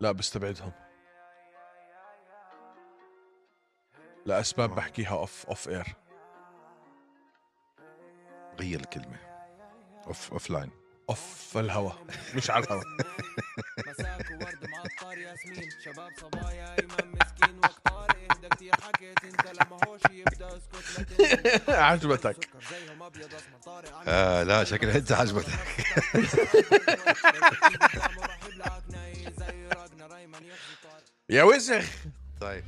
لا بستبعدهم لأسباب آه. بحكيها اوف اوف اير غير الكلمه اوف اوف لاين اوف الهوا مش على الهوا مساك وورد معطر ياسمين شباب صبايا ايمن مسكين وقت طارق اهدى كتير حكيت انت لما هوش يبدا اسكت لا تنسى. عجبتك سكر زيهم ابيض اسمر طارق عن- آه، لا، شكلها أنت عجبتك. مرحب لك ناي زي راجنا ريمان يخزي طارق يا وزخ طيب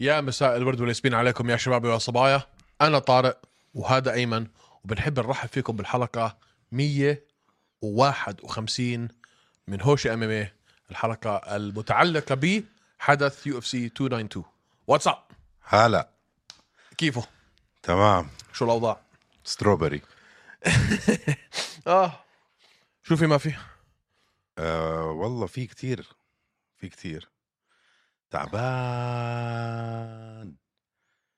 يا مساء الورد والياسمين عليكم يا شباب ويا صبايا انا طارق وهذا ايمن وبنحب نرحب فيكم بالحلقه 151 من هوش ام ام الحلقه المتعلقه بحدث يو اف سي 292 واتساب هلا كيفه تمام شو الاوضاع ستروبري اه شو في ما في آه والله في كتير في كتير تعبان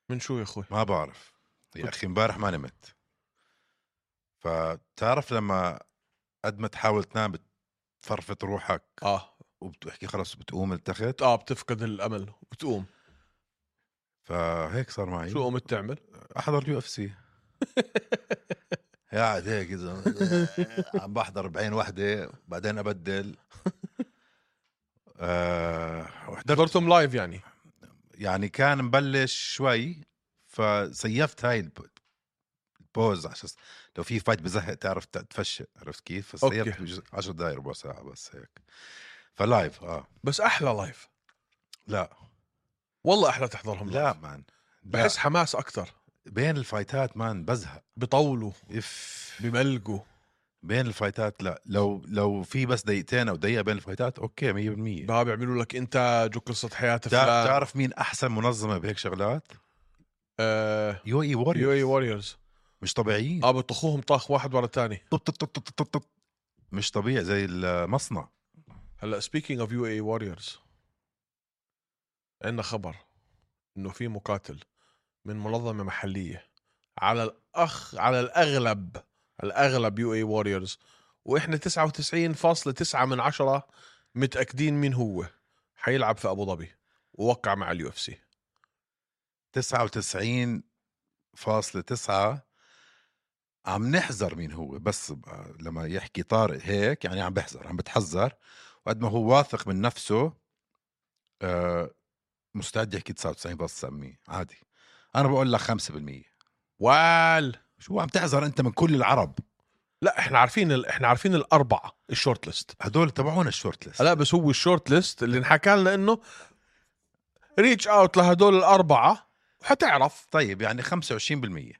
من شو يا اخوي ما بعرف يا اخي امبارح ما نمت فتعرف لما قد ما تحاول تنام بتفرفط روحك اه وبتحكي خلص بتقوم التخت اه بتفقد الامل وبتقوم فهيك صار معي شو قمت تعمل احضر يو اف سي قاعد هيك إذا عم بحضر بعين وحده بعدين ابدل أه وحضرت حضرتهم لايف يعني يعني كان مبلش شوي فسيفت هاي الب- البوز عشان لو في فايت بزهق تعرف ت- تفشق عرفت كيف؟ أوكي. فسيفت 10 دقائق ربع ساعه بس هيك فلايف اه بس احلى لايف لا والله احلى تحضرهم لا لايف مان لا. بحس حماس اكثر بين الفايتات مان بزهق بطولوا اف بملقوا بين الفايتات لا لو لو في بس دقيقتين او دقيقه بين الفايتات اوكي 100% بقى بيعملوا لك انتاج وقصه حياه تع- فلان تعرف مين احسن منظمه بهيك شغلات؟ آه، يو اي يو اي ووريرز واريورز مش طبيعيين اه بطخوهم طاخ واحد ورا الثاني طب طب طب طب طب طب. مش طبيعي زي المصنع هلا سبيكينج اوف يو اي واريورز E عندنا خبر انه في مقاتل من منظمه محليه على الاخ على الاغلب على الاغلب يو اي واريورز واحنا 99.9 من عشرة متاكدين مين هو حيلعب في ابو ظبي ووقع مع اليو اف سي 99.9 عم نحذر مين هو بس ب- لما يحكي طارق هيك يعني عم بحذر عم بتحذر وقد ما هو واثق من نفسه آه، مستعد يحكي 99.7 عادي انا بقول لك 5% وال شو عم تحذر انت من كل العرب لا احنا عارفين ال... احنا عارفين الاربعه الشورت ليست هدول تبعونا الشورت ليست هلا بس هو الشورت ليست اللي انحكى لنا انه ريتش اوت لهدول الاربعه وحتعرف طيب يعني 25%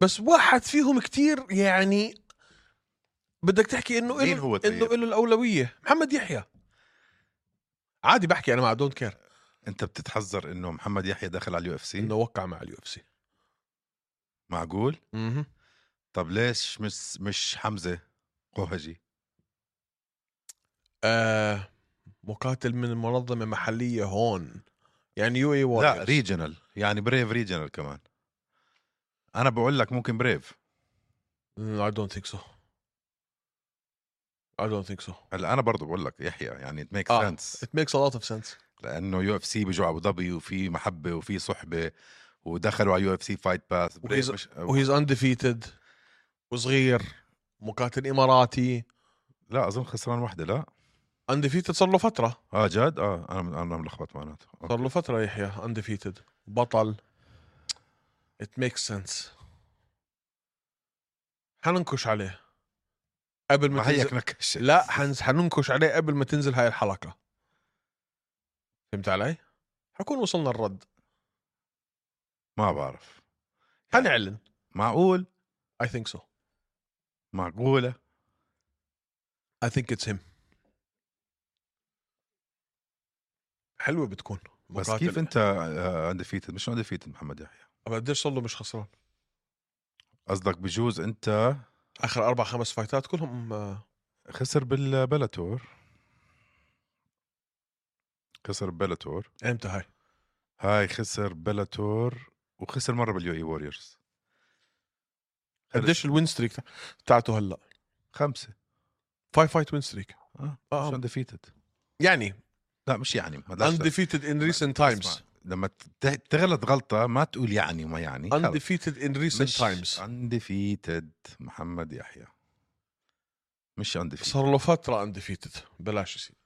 بس واحد فيهم كتير يعني بدك تحكي انه مين إله هو طيب؟ انه له الاولويه محمد يحيى عادي بحكي انا ما دونت كير انت بتتحذر انه محمد يحيى داخل على اليو اف سي انه وقع مع اليو اف سي معقول طب ليش مش مش حمزه قوهجي آه مقاتل من منظمه محليه هون يعني يو اي لا ريجنال يعني بريف ريجنال كمان انا بقول لك ممكن بريف Mm, I don't think so. I don't think so. هلا انا برضه بقول لك يحيى يعني ات ميك آه. سنس It makes a lot of sense. لانه يو اف سي بيجوا ابو ظبي وفي محبه وفي صحبه ودخلوا على يو اف سي فايت باث وهيز- Oh. وهيز اندefeated وصغير مقاتل اماراتي لا اظن خسران وحده لا اندفيتد صار له فتره اه جد اه انا انا ملخبط معناته صار له فتره يحيى اندفيتد بطل It makes sense. حننكش عليه قبل ما ما تنزل هيك نكش لا حنز... حننكش عليه قبل ما تنزل هاي الحلقة فهمت علي؟ حكون وصلنا الرد ما بعرف يعني. حنعلن معقول I think so معقوله I think it's him حلوة بتكون بس مقاتل. كيف انت اندفيتد مش اندفيتد محمد يحيى أبا قديش صار له مش خسران قصدك بجوز انت آخر أربع خمس فايتات كلهم آه، خسر بالبلاتور خسر بلاتور إمتى هاي هاي خسر بلاتور وخسر مره باليو اي ووريرز قديش الوين ستريك بتاعته هلا خمسه فايف فايت وين ستريك اه آه. مش اندفيتد يعني لا مش يعني ما بدلاش لا. undefeated in recent اسمع، times لما ت- تغلط غلطه ما تقول يعني وما يعني undefeated in recent times اندفيتد محمد يحيى مش اندفيتد صار له فترة undefeated بلاش يصير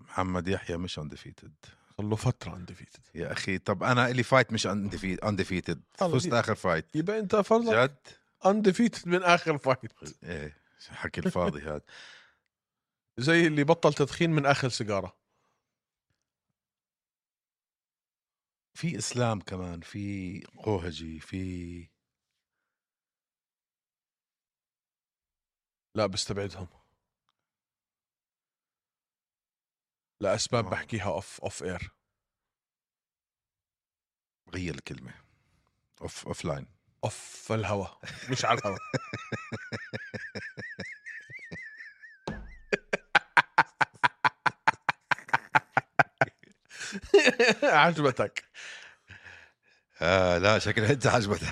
محمد يحيى مش اندفيتد صار له فترة undefeated يا اخي طب انا الي فايت مش اندفيتد الله فزت يديك. اخر فايت يبقى انت فرضك جد undefeated من اخر فايت ايه حكي الفاضي هذا زي اللي بطل تدخين من اخر سيجارة في اسلام كمان في قوهجي في لا بستبعدهم لاسباب آه. بحكيها اوف اوف اير غير الكلمه اوف اوف لاين اوف الهوا مش على الهوا عجبتك آه لا شكلها انت عجبتك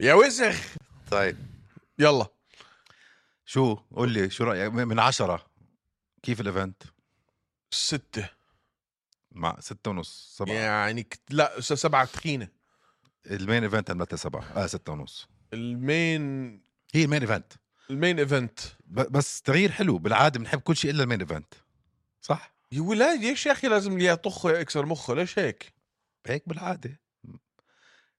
يا وسخ طيب يلا شو قول لي شو رايك من عشرة كيف الايفنت ستة مع ستة ونص سبعة يعني كت... لا س- سبعة تخينة المين ايفنت عملتها سبعة اه ستة ونص المين هي المين ايفنت المين ايفنت ب- بس تغيير حلو بالعاده بنحب كل شيء الا المين ايفنت صح يا ولاد ليش يا اخي لازم يا طخه يا اكسر مخه ليش هيك؟ هيك بالعاده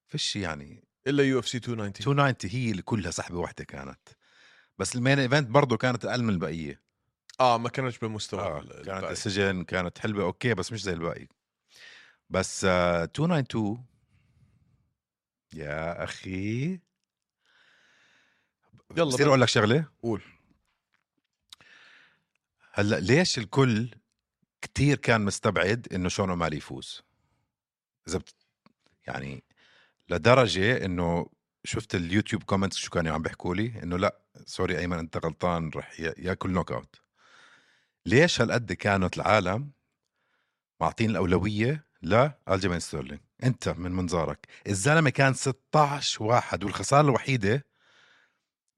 فيش يعني الا يو اف سي 290 290 هي اللي كلها سحبه واحده كانت بس المين ايفنت برضه كانت اقل من البقيه اه ما كانتش بمستوى آه ال- كانت الباقي. السجن كانت حلوه اوكي بس مش زي الباقي بس آه 292 يا اخي يلا يلا بصير اقول لك شغله قول هلا ليش الكل كتير كان مستبعد انه شون اومالي يفوز اذا بت... يعني لدرجه انه شفت اليوتيوب كومنتس شو كانوا عم بيحكوا لي انه لا سوري ايمن انت غلطان رح ي- ياكل نوك اوت ليش هالقد كانت العالم معطين الاولويه لالجيمين ستيرلينج انت من منظارك الزلمه كان 16 واحد والخساره الوحيده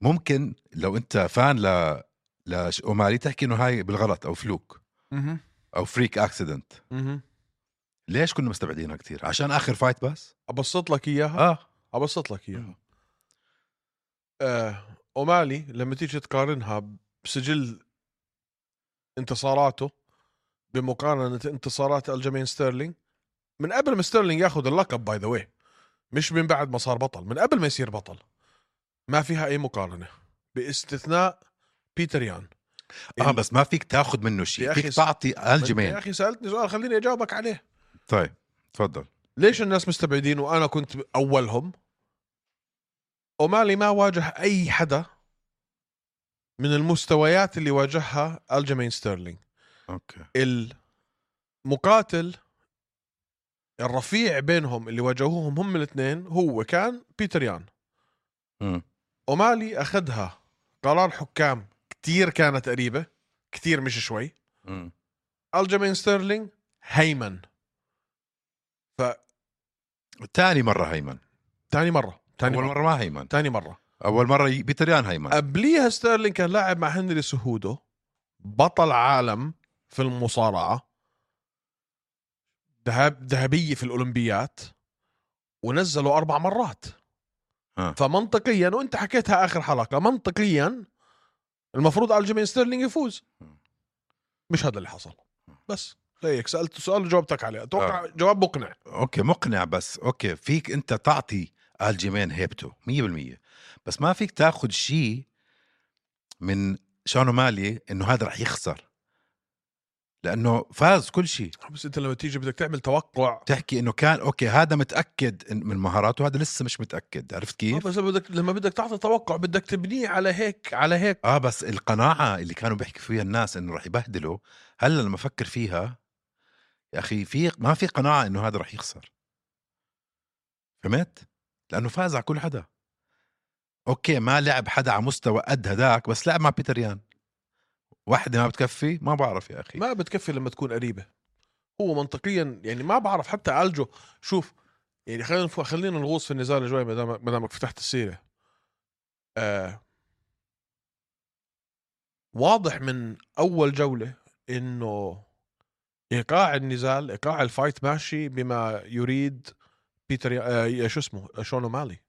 ممكن لو انت فان ل لاومالي تحكي انه هاي بالغلط او فلوك اها او فريك اكسيدنت اها ليش كنا مستبعدينها كتير عشان اخر فايت بس ابسط لك اياها اه ابسط لك اياها آه. اومالي لما تيجي تقارنها بسجل انتصاراته بمقارنه انتصارات الجمين ستيرلينج من قبل ما ستيرلينج ياخذ اللقب باي ذا واي مش من بعد ما صار بطل من قبل ما يصير بطل ما فيها اي مقارنه باستثناء بيتر يان اه بس ما فيك تاخذ منه يا شيء أخي فيك س- تعطي يا الجيمين اخي سالتني سؤال خليني اجاوبك عليه طيب تفضل ليش الناس مستبعدين وانا كنت اولهم اومالي ما واجه اي حدا من المستويات اللي واجهها الجيمين ستيرلينج اوكي المقاتل الرفيع بينهم اللي واجهوهم هم الاثنين هو كان بيتر يان مم. اومالي اخذها قرار حكام كتير كانت قريبه كتير مش شوي مم. الجيمين ستيرلينج هيمن تاني مره هيمن تاني مره تاني اول مرة. مره ما هيمن تاني مره اول مره ي- بيتريان هيمن قبليها ستيرلينج كان لاعب مع هنري سهودو بطل عالم في المصارعه ذهب ذهبيه في الاولمبيات ونزله اربع مرات آه. فمنطقيا وانت حكيتها اخر حلقه منطقيا المفروض الجيمين ستيرلينج يفوز مش هذا اللي حصل بس هيك سالت سؤال وجاوبتك عليه اتوقع جواب مقنع اوكي مقنع بس اوكي فيك انت تعطي الجيمين هيبته 100% بس ما فيك تاخذ شيء من شانو مالي انه هذا رح يخسر لانه فاز كل شيء بس انت لما تيجي بدك تعمل توقع تحكي انه كان اوكي هذا متاكد إن- من مهاراته هذا لسه مش متاكد عرفت آه، كيف بس لما بدك لما بدك تعطي توقع بدك تبنيه على هيك على هيك اه بس القناعه اللي كانوا بيحكوا فيها الناس انه رح يبهدله هلا لما افكر فيها يا اخي في ما في قناعه انه هذا رح يخسر فهمت لانه فاز على كل حدا اوكي ما لعب حدا على مستوى قد هداك بس لعب مع بيتر يان واحده ما بتكفي ما بعرف يا اخي ما بتكفي لما تكون قريبه هو منطقيا يعني ما بعرف حتى ألجو شوف يعني خلينا نف- خلينا نغوص في النزال شوي ما دام ما دامك فتحت السيره آه واضح من اول جوله انه ايقاع النزال ايقاع الفايت ماشي بما يريد بيتر آه شو اسمه شون مالي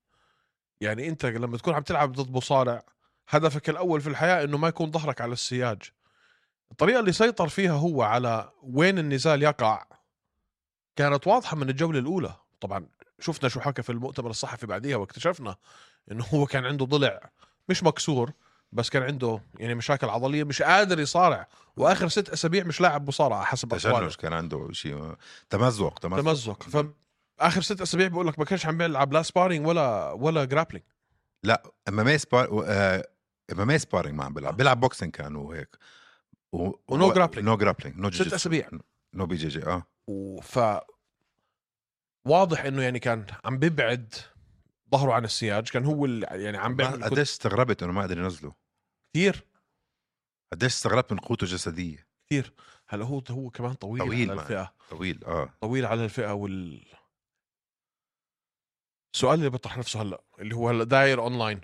يعني انت لما تكون عم تلعب ضد مصارع هدفك الاول في الحياه انه ما يكون ظهرك على السياج الطريقه اللي سيطر فيها هو على وين النزال يقع كانت واضحه من الجوله الاولى طبعا شفنا شو حكى في المؤتمر الصحفي بعديها واكتشفنا انه هو كان عنده ضلع مش مكسور بس كان عنده يعني مشاكل عضليه مش قادر يصارع واخر ست اسابيع مش لاعب مصارعه حسب أقواله. تشنج كان عنده شيء تمزق تمزق تمزق ف اخر ست اسابيع بقول لك ما كانش عم بيلعب لا سبارينج ولا ولا جرابلينج اما ما سبار اما ما سبارينج ما عم إيه بيلعب بيلعب بوكسينج كان وهيك و... ونو grappling. نو جرابلينج نو ست اسابيع نو بي جي جي اه ف واضح انه يعني كان عم بيبعد ظهره عن السياج كان هو اللي يعني عم ما- بيعمل قديش استغربت انه ما قدر ينزله كثير قديش استغربت من قوته الجسديه كثير هلا هو هو كمان طويل, طويل طويل على معك. الفئه طويل اه طويل على الفئه وال السؤال اللي بيطرح نفسه هلا اللي هو هلا داير اونلاين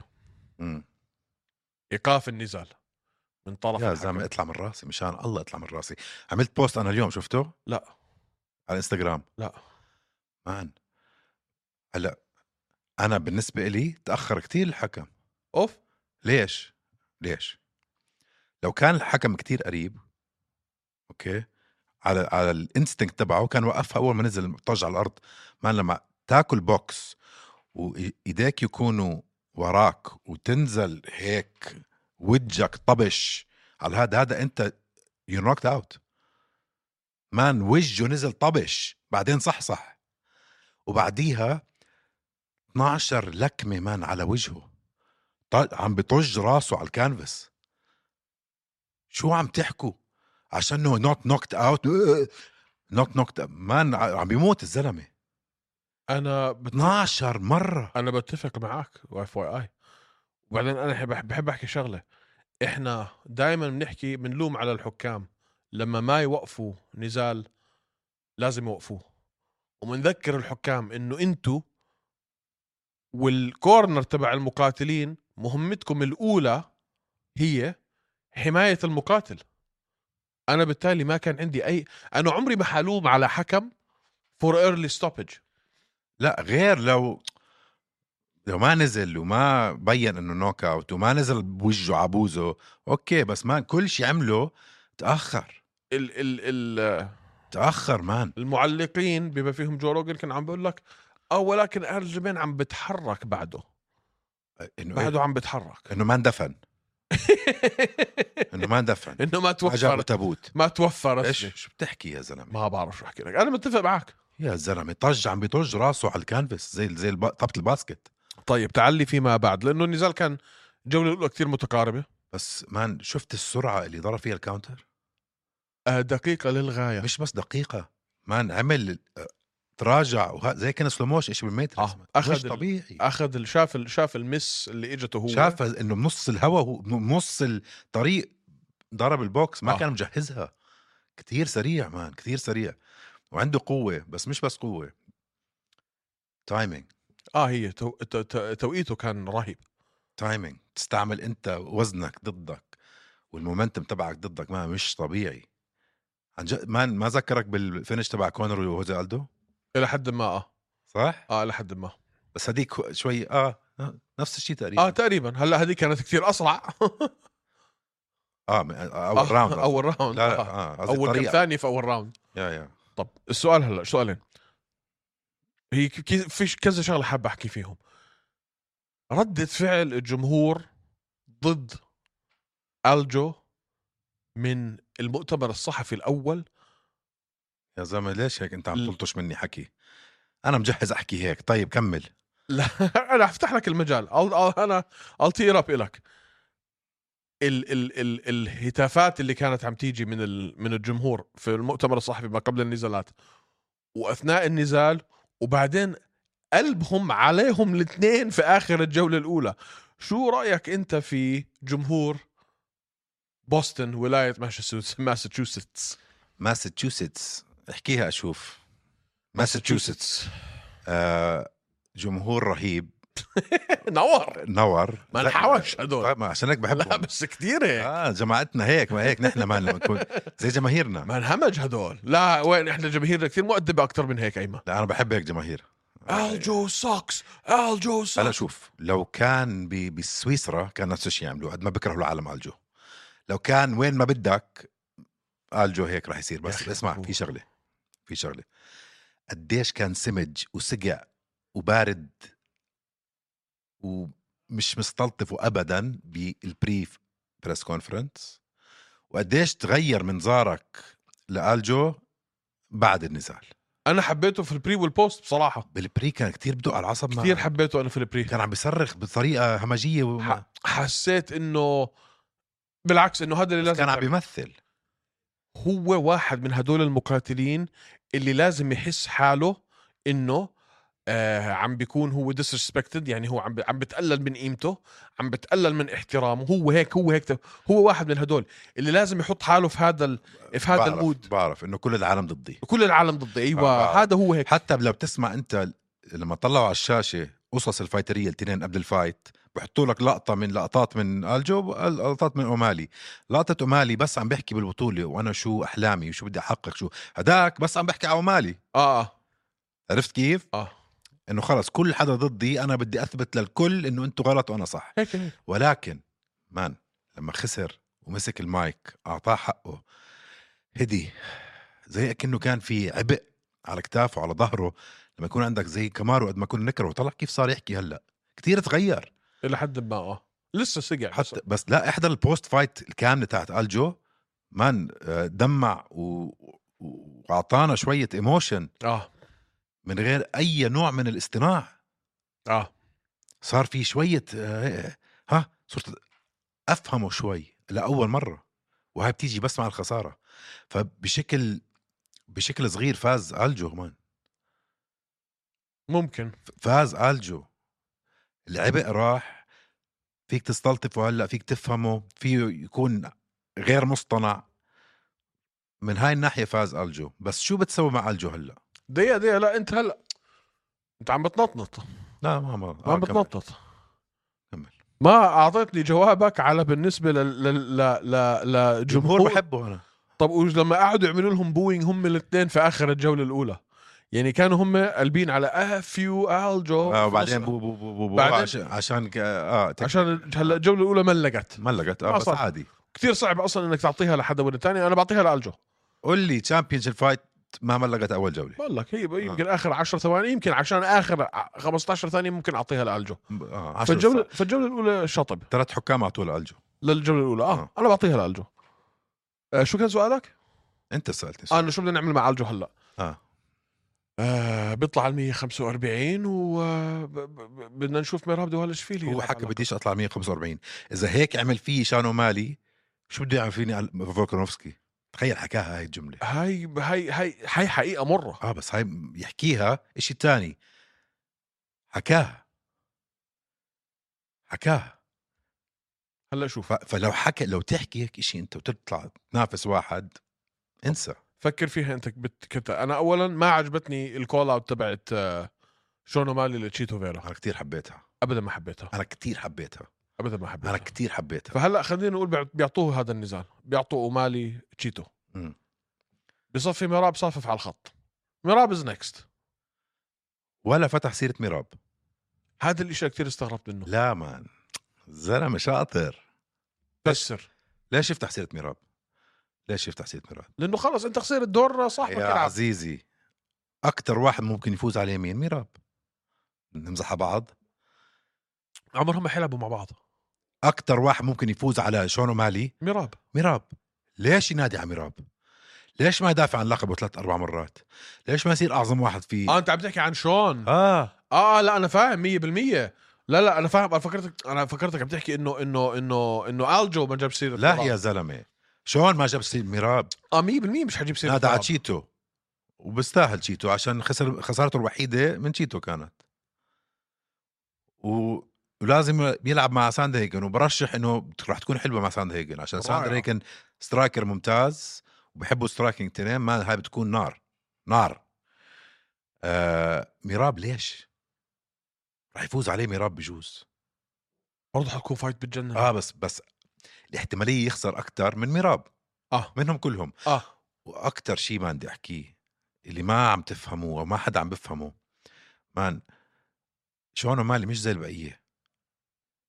امم ايقاف النزال من طرف يا الحكم. زلمه اطلع من راسي مشان الله اطلع من راسي عملت بوست انا اليوم شفته على لا الانستغرام لا مان هلا انا بالنسبه لي تاخر كتير الحكم اوف ليش ليش لو كان الحكم كتير قريب اوكي على على الانستنكت تبعه كان وقفها اول ما نزل طج على الارض ما لما تاكل بوكس وايديك يكونوا وراك وتنزل هيك وجهك طبش على هذا هذا انت يو نوكت اوت مان وجهه نزل طبش بعدين صحصح وبعديها 12 لكمه مان على وجهه ط- طيب، عم بطج راسه على الكانفاس شو عم تحكوا عشان هو نوت نوكت اوت نوت نوكت مان عم بيموت الزلمه انا بت... 12 مره انا بتفق معك واف واي اي وبعدين انا بحب, بحب احكي شغله احنا دائما بنحكي بنلوم على الحكام لما ما يوقفوا نزال لازم يوقفوه وبنذكر الحكام انه انتوا والكورنر تبع المقاتلين مهمتكم الاولى هي حمايه المقاتل انا بالتالي ما كان عندي اي انا عمري ما حلوم على حكم فور ايرلي ستوبج لا غير لو لو ما نزل وما بين انه نوك اوت وما نزل بوجهه عبوزه اوكي بس مان كل شيء عمله تاخر ال ال ال تاخر مان المعلقين بما فيهم جو روجن كان عم بقول لك اه ولكن ارجمين عم بتحرك بعده انه إيه؟ بعده عم بتحرك انه ما اندفن انه ما اندفن انه ما ما جابوا توفر تابوت ما توفر ايش رسمي. شو بتحكي يا زلمه ما بعرف شو احكي لك انا متفق معك يا زلمه طج عم بيطج راسه على الكانفاس زي زي الب- طابه الباسكت طيب تعلي فيما بعد لانه النزال كان الجوله الاولى كثير متقاربه بس مان شفت السرعه اللي ضرب فيها الكاونتر يعني آه، دقيقه للغايه مش بس دقيقه مان عمل آه، تراجع وه... زي كان سلوموش شيء بالماتريكس آه، مان. أخذ مش ال- طبيعي اخذ ال- شاف ال- شاف المس اللي اجته هو شاف انه بنص الهوا هو بنص الطريق ضرب البوكس ما آه. آه. كان مجهزها كتير سريع مان كتير سريع وعنده قوه بس مش بس قوه تايمينج اه هي تو... تو... تو... توقيته كان رهيب تايمينج تستعمل انت وزنك ضدك والمومنتم تبعك ضدك ما مش طبيعي عن جد ما ما ذكرك بالفينش تبع كونر وهوزي الدو الى حد ما اه صح اه الى حد ما بس هديك شوي اه آه، نفس الشيء تقريبا اه اه, تقريبا هلا هذه كانت كثير اسرع آه من- آه، اول راوند قصدي. اول راوند لا لا آه. اه اول كم ثانيه ثانيه في اول راوند يا يا طب السؤال هلا سؤالين هي ك- كي- في ش- كذا شغله حاب احكي فيهم ردة فعل الجمهور ضد الجو من المؤتمر الصحفي الاول يا زلمه ليش هيك انت عم ال- تلطش مني حكي انا مجهز احكي هيك طيب كمل لا انا افتح لك المجال I'll, I'll, انا التير اب لك ال ال ال الهتافات اللي كانت عم تيجي من ال من الجمهور في المؤتمر الصحفي ما قبل النزالات واثناء النزال وبعدين قلبهم عليهم الاثنين في اخر الجوله الاولى شو رايك انت في جمهور بوسطن ولايه ماشيسوس- ماساتشوستس ماساتشوستس احكيها اشوف ماساتشوستس آه جمهور رهيب نور نور ما انحوش هدول طيب، ما عشان هيك لا بحبهم بس كثير هيك اه جماعتنا هيك ما هيك نحن ما لما نكون زي جماهيرنا ما انهمج هدول لا وين احنا جماهيرنا كثير مؤدبه اكثر من هيك ايمن لا انا بحب هيك جماهير الجو سوكس الجو سوكس هلا شوف لو كان ب- بسويسرا كان نفس الشيء يعملوا قد ما بكرهوا العالم الجو لو كان وين ما بدك الجو هيك راح يصير يا بس أخي اسمع مفهوم. في شغله في شغله قديش كان سمج وسقع وبارد ومش مستلطفه ابدا بالبريف بريس كونفرنس وقديش تغير منظارك لالجو بعد النزال انا حبيته في البري والبوست بصراحه بالبري كان كتير بدق على العصب معه. كثير حبيته انا في البري كان عم بيصرخ بطريقه همجيه وما ح- حسيت انه بالعكس انه هذا اللي بس لازم كان عم تعمله. بيمثل هو واحد من هدول المقاتلين اللي لازم يحس حاله انه آه عم بيكون هو disrespected يعني هو عم ب- عم بتقلل من قيمته عم بتقلل من احترامه هو هيك هو هيك هو واحد من هدول اللي لازم يحط حاله في هذا ال- في هذا بعرف- المود بعرف انه كل العالم ضدي كل العالم ضده بعرف. ايوه هذا هو هيك حتى لو بتسمع انت لما طلعوا على الشاشه قصص الفايتريه التنين قبل الفايت بحطوا لك لقطه من لقطات من الجو لقطات من اومالي لقطه اومالي بس عم بحكي بالبطوله وانا شو احلامي وشو بدي احقق شو هداك بس عم بحكي على اومالي اه اه عرفت كيف اه انه خلص كل حدا ضدي انا بدي اثبت للكل انه انتم غلط وانا صح هيك هيك ولكن مان لما خسر ومسك المايك اعطاه حقه هدي زي كأنه كان في عبء على كتافه على ظهره لما يكون عندك زي كمارو قد ما كنا نكره طلع كيف صار يحكي هلا كتير تغير الى حد ما اه لسه سقع حتى بس لا احضر البوست فايت الكامله تاعت الجو مان آه، دمع و و- واعطانا شويه ايموشن اه من غير اي نوع من الاصطناع اه صار في شوية آه، ها صرت أفهمه شوي لأول مرة وهي بتيجي بس مع الخسارة فبشكل بشكل صغير فاز ألجو مان ممكن فاز ألجو العبء راح فيك تستلطفه هلا فيك تفهمه فيه يكون غير مصطنع من هاي الناحية فاز ألجو بس شو بتسوي مع ألجو هلا؟ دقيقه دقيقه لا انت هلا انت عم بتنطنط لا ما ما ما آه، عم كمل. بتنطط كمل. ما اعطيتني جوابك على بالنسبه لل لل ل... ل... جمهور لجمهور بحبه أنا طب ولما قعدوا يعملوا لهم بوينج هم الاثنين في اخر الجوله الاولى يعني كانوا هم قلبين على افيو الجو آه وبعدين بو بو بو بو, بو بعدين- عشان عشان ك- اه تك- عشان هلا الجوله الاولى ما لقت ملقت ما اه بس صار. عادي كثير صعب اصلا انك تعطيها لحدا ولا تاني انا بعطيها لالجو قول لي تشامبيونز الفايت ما ملقت اول جوله بقول لك هي آه. يمكن اخر 10 ثواني يمكن عشان اخر 15 ثانيه ممكن اعطيها لالجو آه عشر فالجوله فالجولة فالجوله الاولى شطب ثلاث حكام اعطوا لالجو للجوله الاولى اه, آه. انا بعطيها لالجو آه شو كان سؤالك؟ انت سالتني آه سؤال. انه شو بدنا نعمل مع الجو هلا اه آه بيطلع على 145 آه، وبدنا نشوف ميراب دوال شفيلي هو حكى بديش اطلع 145 اذا هيك عمل فيه شانو مالي شو بده يعمل فيني ال- فولكانوفسكي تخيل حكاها هاي الجمله هاي هاي هاي هاي حقيقه مره اه بس هاي م- يحكيها اشي تاني حكاها حكاها هلا شوف ف- فلو حكى لو تحكي هيك اشي انت وتطلع تنافس واحد انسى فكر فيها انت بت... كنت انا اولا ما عجبتني الكول اوت تبعت آه، شونو مالي لتشيتو فيرا انا كتير حبيتها ابدا ما حبيتها انا كتير حبيتها ابدا ما انا حبيتها كتير حبيتها فهلا خلينا نقول بيع- بيعطوه هذا النزال بيعطوا مالي تشيتو مم. بصفي ميراب صافف على الخط ميراب از نكست ولا فتح سيره ميراب هذا الاشي كثير استغربت منه لا مان زلمه شاطر كسر ليش يفتح سيره ميراب ليش يفتح سيره ميراب لانه خلص انت خسر الدور صاحبك يا يلعب عزيزي اكثر واحد ممكن يفوز عليه مين ميراب نمزح على بعض عمرهم ما حيلعبوا مع بعض اكثر واحد ممكن يفوز على شون مالي ميراب ميراب ليش ينادي على ميراب ليش ما يدافع عن لقبه ثلاث اربع مرات ليش ما يصير اعظم واحد اه فيه انت عم تحكي عن شون اه اه لا انا فاهم 100% لا لا انا فاهم انا فكرتك انا فكرتك عم تحكي انه انه انه انه الجو ما جاب سيره لا ميراب. يا زلمه شون ما جاب سيره ميراب اه 100% مش حجيب سيره نادى على ميراب. تشيتو وبستاهل تشيتو عشان خسر خسارته الوحيده من تشيتو كانت و... ولازم يلعب مع ساند هيجن وبرشح انه رح تكون حلوه مع ساند هيجن عشان رائعة. ساند هيجن سترايكر ممتاز وبحبوا سترايكنج تنين ما هاي بتكون نار نار آه ميراب ليش راح يفوز عليه ميراب بجوز برضه حتكون فايت بتجنن اه بس بس الاحتماليه يخسر اكثر من ميراب اه منهم كلهم اه واكثر شيء ما بدي احكيه اللي ما عم تفهموه وما حدا عم بفهمه مان شون مالي مش زي البقيه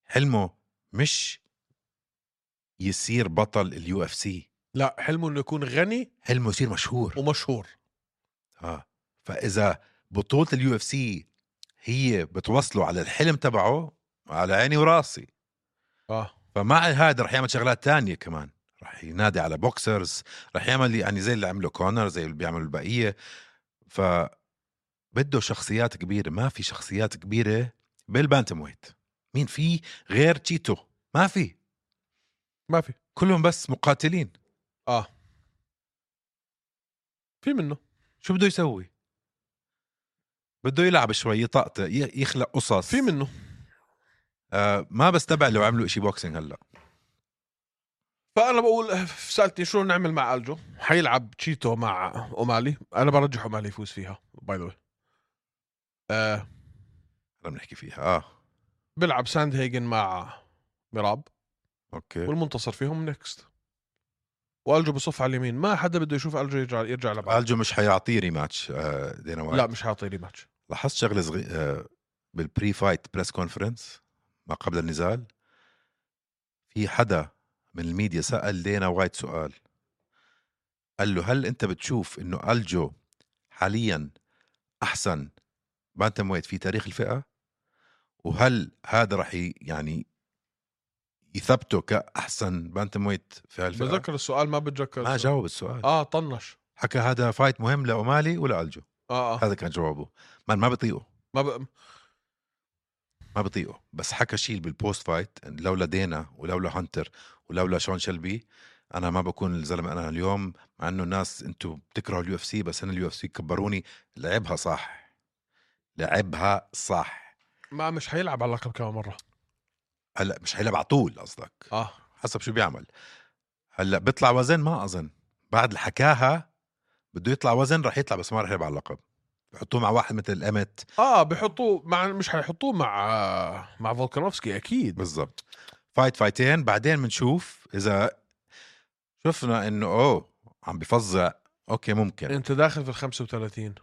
حلمه مش يصير بطل اليو اف سي لا حلمه انه يكون غني حلمه يصير مشهور ومشهور اه فاذا بطوله اليو اف سي هي بتوصله على الحلم تبعه على عيني وراسي اه فمع هذا رح يعمل شغلات تانية كمان رح ينادي على بوكسرز رح يعمل يعني زي اللي عمله كونر زي اللي بيعملوا البقية ف بده شخصيات كبيرة ما في شخصيات كبيرة بالبانتم ويت مين في غير تشيتو ما في ما في كلهم بس مقاتلين اه في منه شو بده يسوي بده يلعب شوي يطقطق ي- يخلق قصص في منه آه ما بستبع لو عملوا إشي بوكسينج هلا فانا بقول سالتني شو نعمل مع الجو حيلعب تشيتو مع اومالي انا برجح اومالي يفوز فيها باي ذا آه هلا بنحكي فيها اه بيلعب ساند هيجن مع ميراب اوكي والمنتصر فيهم نيكست والجو بصف على اليمين ما حدا بده يشوف الجو يرجع يرجع لبعض الجو مش حيعطيه ريماتش آه دينا وايت لا مش حاطي لي ماتش لاحظت شغله صغي... آه، بالبري فايت بريس كونفرنس ما قبل النزال في حدا من الميديا سال دينا وايت سؤال قال له هل انت بتشوف انه الجو حاليا احسن بانتم ويت في تاريخ الفئه وهل هذا رح ي... يعني يثبته كاحسن بانتم ويت في هالفئه بتذكر السؤال ما بتذكر ما السؤال. جاوب السؤال اه طنش حكى هذا فايت مهم لاومالي ولا الجو اه اه هذا كان جوابه ما ما بطيقه ما ب... ما بطيقه بس حكى شيء بالبوست فايت إن لولا دينا ولولا هانتر ولولا شون شلبي انا ما بكون الزلمه انا اليوم مع انه الناس انتم بتكرهوا اليو اف سي بس انا اليو اف سي كبروني لعبها صح لعبها صح ما مش حيلعب على اللقب كمان مره هلا مش حيلعب على طول قصدك اه حسب شو بيعمل هلا بيطلع وزن ما اظن بعد اللي حكاها بده يطلع وزن رح يطلع بس ما رح يلعب على اللقب بحطوه مع واحد مثل الامت اه بحطوه مع مش حيحطوه مع مع فولكانوفسكي اكيد بالضبط فايت فايتين بعدين بنشوف اذا شفنا انه اوه عم بفظع اوكي ممكن انت داخل في ال 35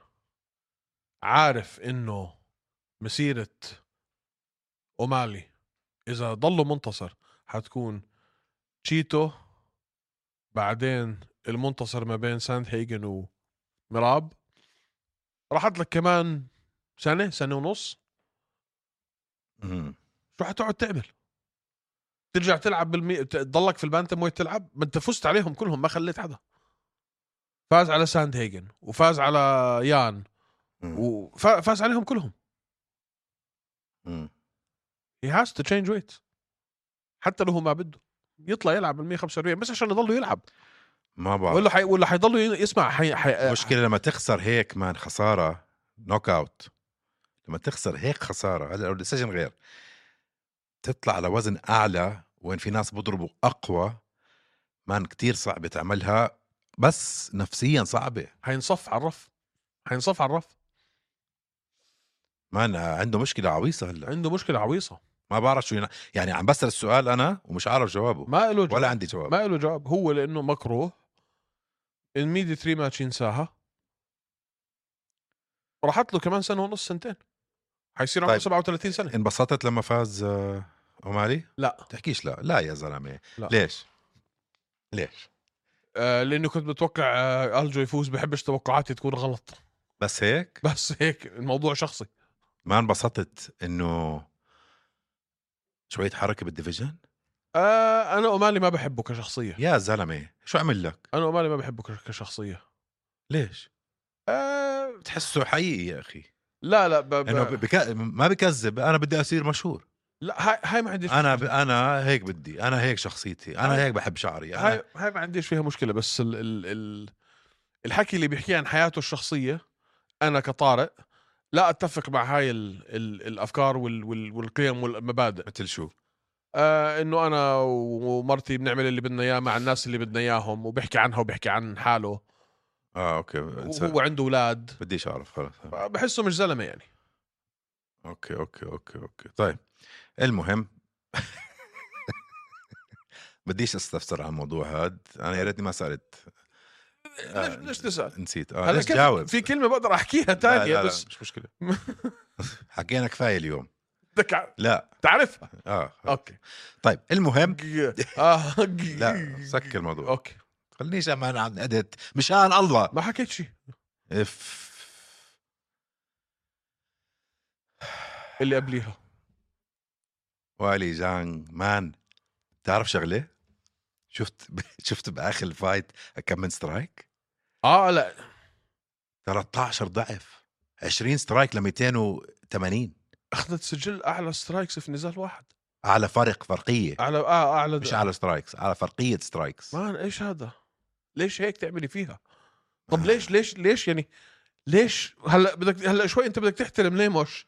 عارف انه مسيره اومالي اذا ضلوا منتصر حتكون تشيتو بعدين المنتصر ما بين ساند هيجن ومراب راحت لك كمان سنه سنه ونص مم. شو حتقعد تعمل ترجع تلعب بالمي... تضلك في البانتم ويت تلعب ما انت فزت عليهم كلهم ما خليت حدا فاز على ساند هيجن وفاز على يان مم. وفاز عليهم كلهم مم. هي هاز تو تشينج ويت حتى لو هو ما بده يطلع يلعب ال 145 بس عشان يضلوا يلعب ما بعرف ولا آه، حي... ولا حيضلوا ي- يسمع حي... حي... المشكله لما تخسر هيك مان خساره نوك اوت لما تخسر هيك خساره هلا لو الديسيجن غير تطلع على وزن اعلى وين في ناس بضربوا اقوى مان كتير صعبه تعملها بس نفسيا صعبه حينصف على الرف حينصف على الرف مان آه، عنده مشكله عويصه هلا عنده مشكله عويصه ما بعرف شو ينا... يعني عم بسال السؤال انا ومش عارف جوابه ما له ولا عندي جواب ما له جواب هو لانه مكروه الميدي 3 ماتش ينساها راحت له كمان سنه ونص سنتين حيصير عمره طيب. 37 سنه انبسطت لما فاز آه، اومالي لا تحكيش لا لا يا زلمه لا. ليش ليش آه لانه كنت متوقع آه الجو يفوز بحبش توقعاتي تكون غلط بس هيك بس هيك الموضوع شخصي ما انبسطت انه شويه حركه بالديفيجن آه انا اومالي ما بحبه كشخصيه يا زلمه شو عمل لك انا اومالي ما بحبه كش- كشخصيه ليش آه بتحسه حقيقي يا اخي لا لا ب... انه ب... بك... ما بكذب انا بدي اصير مشهور لا هاي هاي ما عنديش انا ب... انا هيك بدي انا هيك شخصيتي انا هيك بحب شعري هاي انا هاي ما عنديش فيها مشكله بس ال ال ال الحكي اللي بيحكيه عن حياته الشخصيه انا كطارق لا اتفق مع هاي ال ال الافكار وال وال والقيم والمبادئ مثل شو آه انه انا ومرتي بنعمل اللي بدنا اياه مع الناس اللي بدنا اياهم وبحكي عنها وبحكي عن حاله اه اوكي وهو انسى عنده اولاد بديش اعرف خلص بحسه مش زلمه يعني اوكي اوكي اوكي اوكي طيب المهم بديش استفسر على الموضوع هاد انا يا ريتني ما سالت آه، ليش ليش تسال؟ نسيت اه هلا ليش كيف جاوب في كلمه بقدر احكيها لا، تانية لا، لا، بس مش مشكله حكينا كفايه اليوم بدك ع- لا تعرفها اه اوكي طيب المهم اه لا سكر الموضوع اوكي خلينيش امان عن ادت مشان الله ما حكيت شيء اف اللي قبليها والي جانج مان بتعرف شغله شفت شفت باخر الفايت كم من سترايك اه لا 13 ضعف 20 سترايك ل 280 اخذت سجل اعلى سترايكس في نزال واحد اعلى فرق فرقيه اعلى اه اعلى مش اعلى سترايكس اعلى فرقيه سترايكس مان ايش هذا؟ ليش هيك تعملي فيها؟ طب ليش ليش ليش يعني ليش هلا بدك هلا شوي انت بدك تحترم ليموش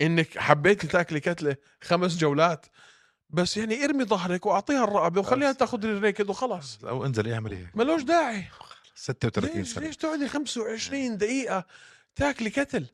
انك حبيت تاكلي كتله خمس جولات بس يعني ارمي ظهرك واعطيها الرقبه وخليها بس. تاخذ الريكد وخلاص او انزل اعمل هيك ملوش داعي 36 ليش سنه ليش تقعدي 25 دقيقه تاكلي كتل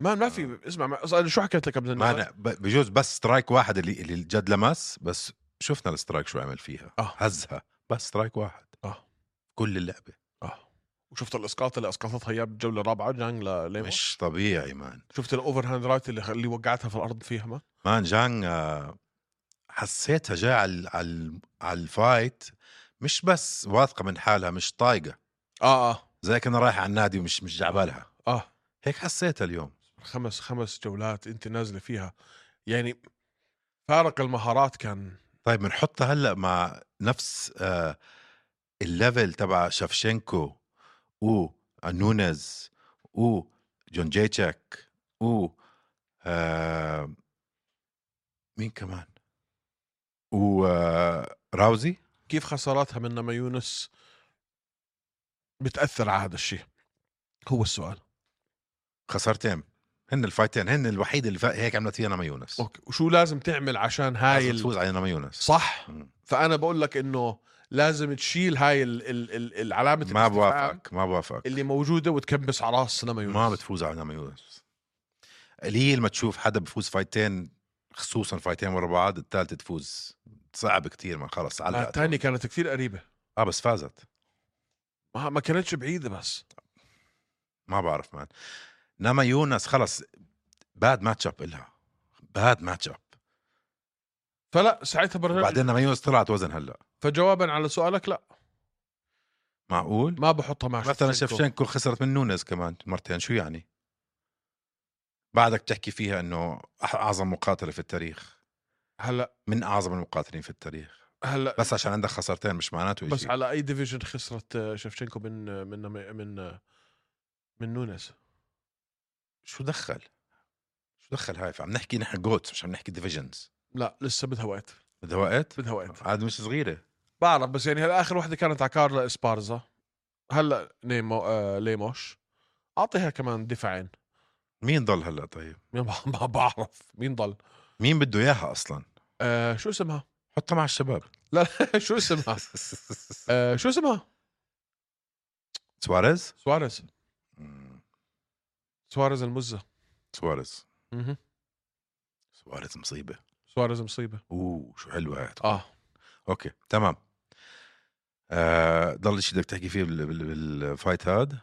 ما ما في اسمع ما أصلاً شو حكيت لك قبل آه. ما النزال؟ أنا ب- بجوز بس سترايك واحد اللي اللي جد لمس بس شفنا السترايك شو عمل فيها آه. هزها بس سترايك واحد آه. كل اللعبه آه. اه وشفت الاسقاط اللي اسقطتها اياه بالجوله الرابعه جانج لليموش مش طبيعي مان شفت الاوفر هاند رايت اللي اللي وقعتها في الارض فيها ما مان جانج آه، حسيتها جاي على على على الفايت مش بس واثقه من حالها مش طايقه اه آه، اه زي كنا رايحه على النادي ومش مش جعبالها اه هيك حسيتها اليوم خمس خمس جولات انت نازله فيها يعني فارق المهارات كان طيب بنحطها هلا مع نفس آه الليفل تبع شفشنكو و نونيز و جون جيتشك و آه مين كمان و آه راوزي كيف خساراتها من لما يونس بتاثر على هذا الشيء هو السؤال خسارتين هن الفايتين هن الوحيد اللي فا- هيك عملت فيها نما يونس اوكي وشو لازم تعمل عشان هاي لازم ال... تفوز على نما يونس صح مم. فانا بقول لك انه لازم تشيل هاي ال... ال... ال... العلامه ما الاستفهام بوافقك ما بوافقك اللي موجوده وتكبس على راس لما يونس ما بتفوز على نما يونس قليل ما تشوف حدا بفوز فايتين خصوصا فايتين ورا بعض الثالثة تفوز صعب كتير ما خلص لا، علقت الثانيه آه، كانت كثير قريبه اه بس فازت ما, ما كانتش بعيده بس ما بعرف مان نما يونس خلص باد ماتش اب الها باد ماتش اب فلا ساعتها برجع وبعدين نما يونس نعم طلعت وزن هلا فجوابا على سؤالك لا معقول ما بحطها مع مثلا شفشنكو. شفشنكو خسرت من نونز كمان مرتين شو يعني بعدك تحكي فيها انه أح- اعظم مقاتله في التاريخ هلا من اعظم المقاتلين في التاريخ هلا بس عشان عندك خسارتين مش معناته بس إشي. على اي ديفيجن خسرت آه، شفشنكو من آه، من من آه، من نونس شو دخل؟ شو دخل هاي؟ عم نحكي نحن جوتس مش عم نحكي ديفيجنز لا لسه بدها وقت بدها وقت؟ بدها وقت عاد مش صغيره بعرف بس يعني هلا اخر وحده كانت على كارلا اسبارزا هلا نيمو آه ليموش اعطيها كمان دفاعين مين ضل هلا طيب؟ ما ب- ما بعرف مين ضل مين بده اياها اصلا؟ آه شو اسمها حطها مع الشباب شو اسمها آه شو اسمها سواريز؟ سواريز مم، سواريز المزه سواريز مهم. سواريز مصيبه سواريز مصيبه اوه شو حلوه هاي اه اوكي تمام آه ضل شيء بدك تحكي فيه بال- بال- بالفايت هاد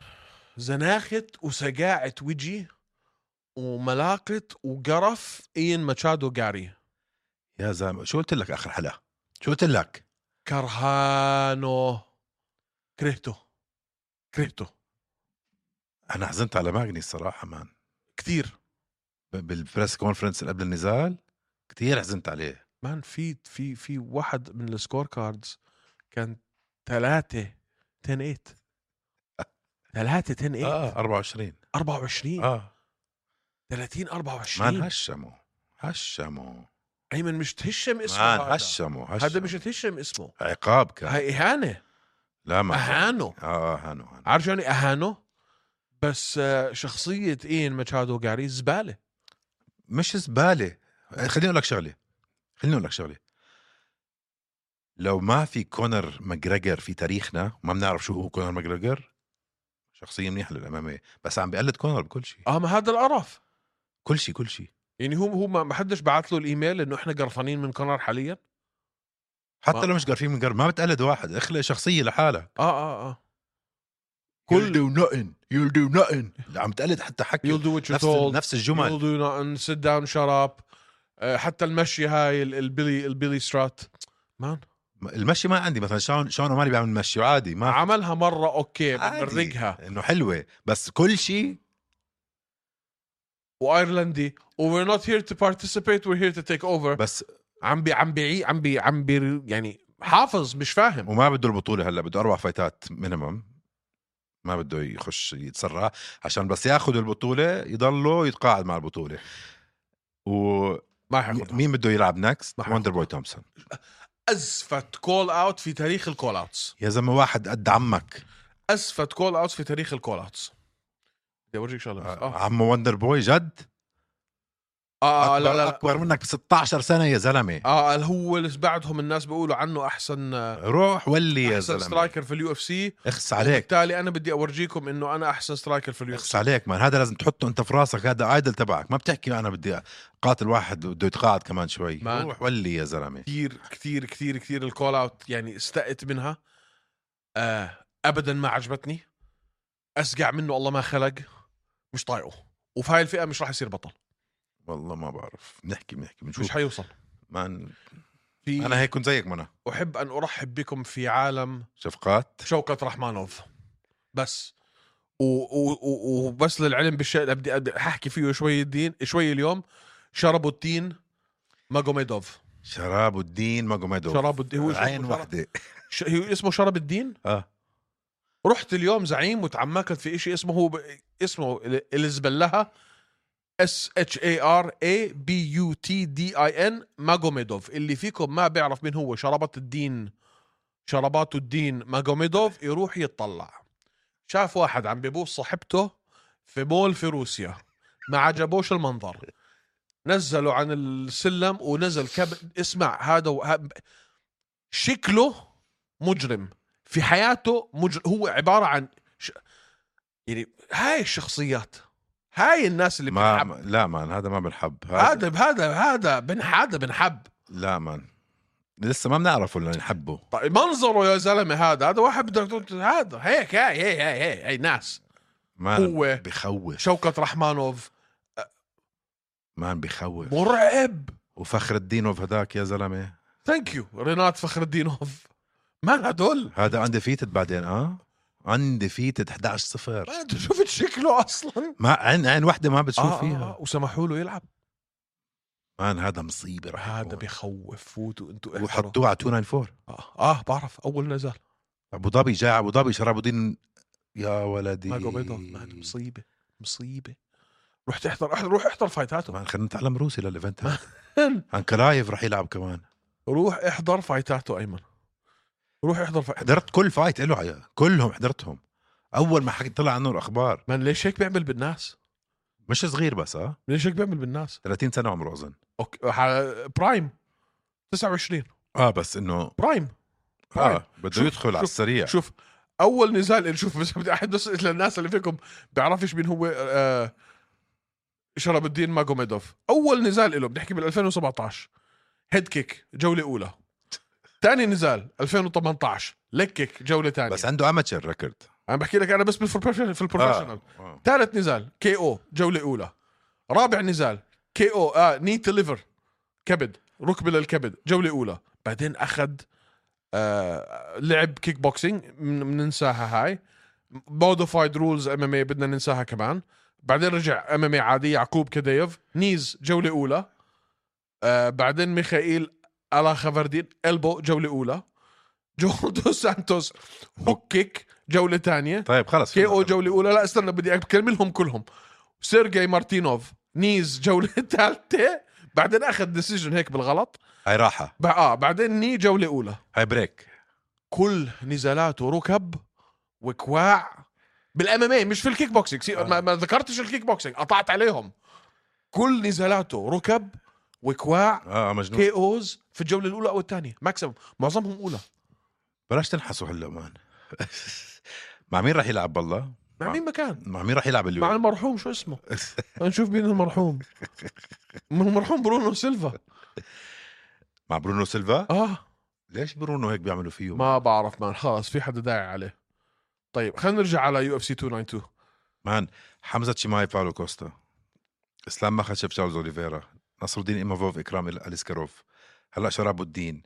زناخة وسجاعة وجي وملاقة وقرف إين ماتشادو جاري يا زلمه شو قلت لك اخر حلقه؟ شو قلت لك؟ كرهانه كرهته كرهته انا حزنت على ماجني الصراحه مان كثير ب- بالبريس كونفرنس اللي قبل النزال كتير حزنت عليه مان في في في واحد من السكور كاردز كان ثلاثة 10 8 ثلاثة 10 8 اه 24 24 اه 30 مان 24 هشموا هشموا ايمن مش تهشم اسمه مان هذا هشموا هذا هشموا مش تهشم اسمه عقاب كان هاي إهانة لا ما كان. أهانه اه هانو هانو عارف شو يعني اهانه بس آه، شخصيه اين ماتشادو جاري زباله مش زباله خليني اقول لك شغله خليني اقول لك شغله لو ما في كونر ماجريجر في تاريخنا ما بنعرف شو هو كونر ماجريجر شخصيه منيحه للاماميه بس عم بقلد كونر بكل شيء اه ما هذا القرف كل شيء كل شيء يعني هو هو ما ما حدش بعت له الايميل انه احنا قرفانين من كونر حاليا حتى ما- لو مش قرفين من قرب ما بتقلد واحد اخلق شخصيه لحالك اه اه اه كل كل دو نوتن يو دو نوتن عم تقلد حتى حكي you'll do what you're نفس told نفس الجمل you'll do nothing sit down shut up آه، حتى المشي هاي ال- البيلي البيلي سترات مان المشي ما عندي مثلا شلون شلون مالي بعمل مشي وعادي ما عملها مره اوكي آه. عادي. بنرقها انه حلوه بس كل شيء وايرلندي و we're not here to participate we're here to take over بس عم بي عم بيعي عم بي عم بي يعني حافظ مش فاهم وما بده البطوله هلا بده اربع فايتات مينيمم ما بده يخش يتسرع عشان بس ياخذ البطوله يضله يتقاعد مع البطوله ومين ما حياخذها بده يلعب نكست ما وندر بوي تومسون ازفت كول اوت في تاريخ الكول اوتس يا زلمه واحد قد عمك ازفت كول اوتس في تاريخ الكول اوتس بدي اورجيك شغله بس. اه عمه وندر بوي جد اه آه، لا أكبر, لا لا اكبر منك ب 16 سنه يا زلمه اه هو اللي بعدهم الناس بيقولوا عنه احسن روح ولي يا احسن زلمه سترايكر في اليو اف سي اخس عليك وبالتالي انا بدي اورجيكم انه انا احسن سترايكر في اليو اف اخس سي عليك مان هذا لازم تحطه انت في راسك هذا ايدل تبعك ما بتحكي انا بدي قاتل واحد بده يتقاعد كمان شوي مان. روح ولي يا زلمه كثير كثير كثير كثير الكول اوت يعني استقت منها آه ابدا ما عجبتني اسقع منه الله ما خلق مش طايقه وفي هاي الفئه مش راح يصير بطل والله ما بعرف بنحكي بنحكي بنشوف مش حيوصل مان في انا هيك كنت زيك منى احب ان ارحب بكم في عالم شفقات شوكت رحمانوف بس و- و- و- وبس للعلم بالشيء اللي بدي بدي احكي فيه شوي الدين شوي اليوم شربوا التين ماجوميدوف شراب الدين ماجوميدوف شراب الدين هو شو اسمه عين شراب؟ وحده ش... هي اسمه شرب الدين اه رحت اليوم زعيم وتعمقت في إشي اسمه هو ب... اسمه ال- الزبلها اس اتش اي ار اي بي يو تي دي اي ان ماجوميدوف اللي فيكم ما بيعرف مين هو شربات الدين شربات الدين ماجوميدوف يروح يتطلع شاف واحد عم ببوس صاحبته في مول في روسيا ما عجبوش المنظر نزلوا عن السلم ونزل كب اسمع هذا و... ه- شكله مجرم في حياته مجر... هو عباره عن ش... يعني هاي الشخصيات هاي الناس اللي ما بتنحب ما- لا مان هذا ما بنحب هذا هذا هذا بن هذا بنحب لا مان لسه ما بنعرفه اللي نحبه طيب منظره يا زلمه هذا هذا واحد بدك تقول هذا هيك هاي هي هي هي هي ناس مان هو بخوف شوكت رحمانوف مان بخوف مرعب وفخر الدينوف هذاك يا زلمه ثانك يو رينات فخر الدينوف ما هدول هذا اندفيتد بعدين اه اندفيتد 11 0 ما انت شفت شكله اصلا ما عين عين وحده ما بتشوف آه، آه، فيها آه، وسمحوا له يلعب مان هذا مصيبه رح هذا يكون. بخوف فوتوا انتوا احضروا. وحطوه على 294 اه, آه بعرف اول نزال ابو ظبي جاء ابو ظبي شراب الدين يا ولدي ما قبيضه مان مصيبه مصيبه روح تحضر احضر روح احضر فايتاته مان خلينا نتعلم روسي للايفنت هذا مان. انكلايف رح يلعب كمان روح احضر فايتاته ايمن روح احضر فايتاته حضرت كل فايت له عيا كلهم حضرتهم اول ما حكي طلع عنه الاخبار من ليش هيك بيعمل بالناس مش صغير بس اه ليش هيك بيعمل بالناس 30 سنه عمره اظن اوكي ح- برايم 29 اه بس انه برايم اه بده شوف- يدخل على شوف- السريع شوف اول نزال شوف بس بدي احد بس للناس اللي فيكم بيعرفش مين هو آه شرب الدين ماجوميدوف اول نزال له بنحكي بال 2017 هيد كيك جوله اولى ثاني نزال 2018 ليك كيك جوله ثانيه بس عنده اماتشر ريكورد انا بحكي لك انا بس بالبروفيشنال في البروفيشنال آه. ثالث نزال كي او جوله اولى رابع نزال كي او اه ني ليفر كبد ركبه للكبد جوله اولى بعدين اخذ آه لعب كيك بوكسينج من- بننساها هاي موديفايد رولز ام ام اي بدنا ننساها كمان بعدين رجع ام ام اي عادي يعقوب كديف نيز جوله اولى آه بعدين ميخائيل الا خفردين البو جوله اولى جو دو سانتوس هوك كيك جوله ثانيه طيب خلص كي او جوله اولى لا استنى بدي اكملهم كلهم سيرجي مارتينوف نيز جوله ثالثه بعدين اخذ ديسيجن هيك بالغلط هاي راحه بع- اه بعدين ني جوله اولى هاي بريك كل نزالاته ركب وكواع بالام ام مش في الكيك بوكسينج سي- ما, ما ذكرتش الكيك بوكسينج قطعت عليهم كل نزالاته ركب وكواع اه مجنون كي اوز في الجوله الاولى او الثانيه ماكسيموم معظمهم اولى بلاش تنحسوا هلا مان مع مين رح يلعب بالله؟ مع مين مكان مع مين راح يلعب مع اليوم؟ المرحوم شو اسمه نشوف مين المرحوم من المرحوم برونو سيلفا مع برونو سيلفا؟ اه ليش برونو هيك بيعملوا فيه؟ ما بعرف مان خلاص في حدا داعي عليه طيب خلينا نرجع على يو اف سي 292 مان حمزه شماي باولو كوستا اسلام مخشب تشارلز اوليفيرا نصر الدين ايمافوف اكرام ال- اليسكاروف هلا شراب الدين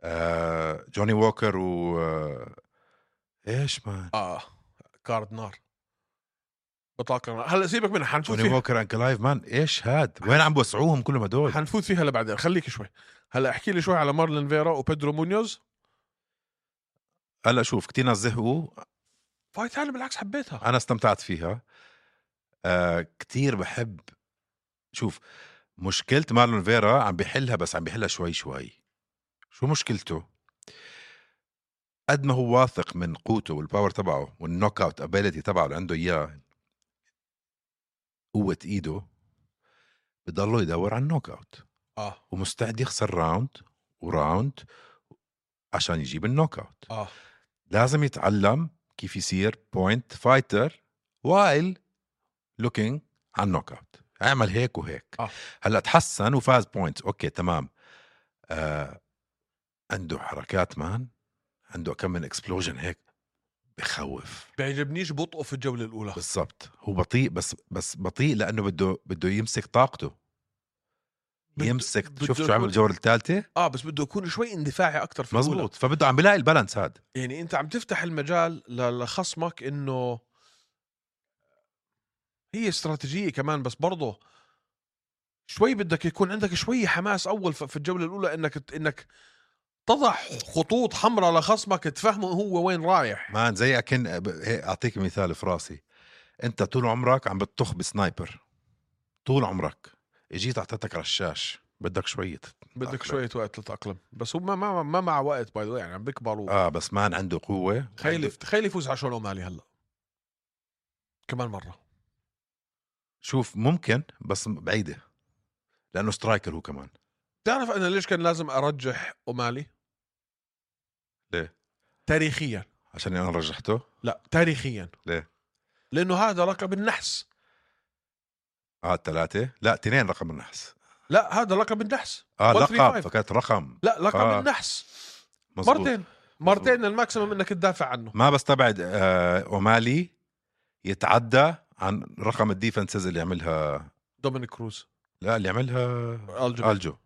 آه جوني ووكر و آه، ايش مان اه كارد نار اطلاقا هلا سيبك منها حنفوت جوني فيها ووكر انكل لايف مان ايش هاد وين عم بوسعوهم كلهم هدول حنفوت فيها لبعدين خليك شوي هلا احكي لي شوي على مارلين فيرا وبيدرو مونيوز هلا شوف كتير ناس زهقوا فايت ثاني بالعكس حبيتها انا استمتعت فيها آه كتير بحب شوف مشكله مارلون فيرا عم بيحلها بس عم بيحلها شوي شوي شو مشكلته قد ما هو واثق من قوته والباور تبعه والنوك اوت ابيلتي تبعه اللي عنده اياه قوه ايده بضله يدور على النوك اوت اه ومستعد يخسر راوند وراوند عشان يجيب النوك اوت اه لازم يتعلم كيف يصير بوينت فايتر وايل لوكينج على النوك اوت اعمل هيك وهيك آه. هلا تحسن وفاز بوينت اوكي تمام آه عنده حركات مان عنده كم من اكسبلوجن هيك بخوف بيعجبنيش بطئه في الجوله الاولى بالضبط هو بطيء بس بس بطيء لانه بده بده يمسك طاقته بده- يمسك بده شفت شو يكون- عمل الجوله الثالثه اه بس بده يكون شوي اندفاعي اكثر في الأولى. مزبوط فبده عم بلاقي البالانس هاد يعني انت عم تفتح المجال ل- لخصمك انه هي استراتيجيه كمان بس برضه شوي بدك يكون عندك شوي حماس اول ف- في الجوله الاولى انك ت- انك تضع خطوط حمراء لخصمك تفهمه هو وين رايح مان زي اكن ب- هيك اعطيك مثال في راسي انت طول عمرك عم بتطخ بسنايبر طول عمرك اجيت اعطيتك رشاش بدك شوية بدك أقلم. شوية وقت لتتأقلم بس هو ما ما, ما مع وقت باي ذا يعني عم بيكبروا اه بس مان عنده قوة تخيل وعنده- تخيل يفوز على شون مالي هلا كمان مرة شوف ممكن بس بعيدة لانه سترايكر هو كمان بتعرف انا ليش كان لازم ارجح اومالي؟ ليه؟ تاريخيا عشان انا رجحته لا تاريخيا ليه؟ لانه هذا رقم النحس اه ثلاثة لا اثنين رقم النحس لا هذا رقم النحس اه 135. لقب فكانت رقم لا رقم آه. آه. النحس مزبوط. مرتين مرتين الماكسيمم انك تدافع عنه ما بستبعد آه اومالي يتعدى عن رقم الديفنسز اللي عملها دومينيك كروز لا اللي عملها الجو الجو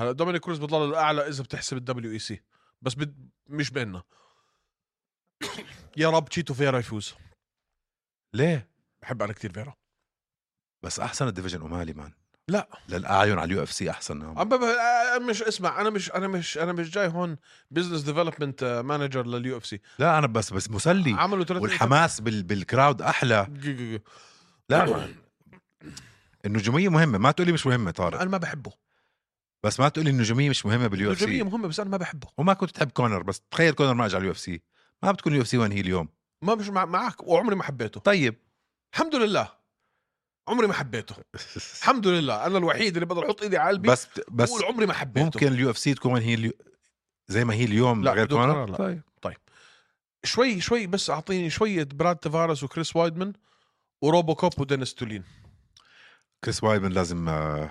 هلا دومينيك كروز بضل الاعلى اذا بتحسب الدبليو اي سي بس بد... مش بيننا يا رب تشيتو فيرا يفوز ليه؟ بحب انا كثير فيرا بس احسن الديفيجن اومالي مان لا. للاعين على اليو اف سي احسن نعم. عم بب- آه، مش اسمع انا مش انا مش انا مش جاي هون بزنس ديفلوبمنت مانجر لليو اف سي لا انا بس بس مسلي عملوا ثلاث والحماس بال بالكراود احلى لا مان النجوميه مهمه ما تقولي مش مهمه طارق انا ما بحبه بس ما تقولي النجوميه مش مهمه باليو اف الجميع سي مهمه بس انا ما بحبه وما كنت تحب كونر بس تخيل كونر ما اجى على اليو اف سي ما بتكون اليو اف سي وين هي اليوم ما مش مع... معك وعمري ما حبيته طيب الحمد لله عمري ما حبيته الحمد لله انا الوحيد اللي بقدر احط ايدي على قلبي بس بس واقول عمري ما حبيته ممكن اليو اف سي تكون وين هي اليو زي ما هي اليوم لا، غير بدون كونر قرار، لا. طيب شوي شوي بس اعطيني شويه براد تفارس وكريس وايدمان وروبو كوب ودينيس تولين كريس وايبن لازم آه،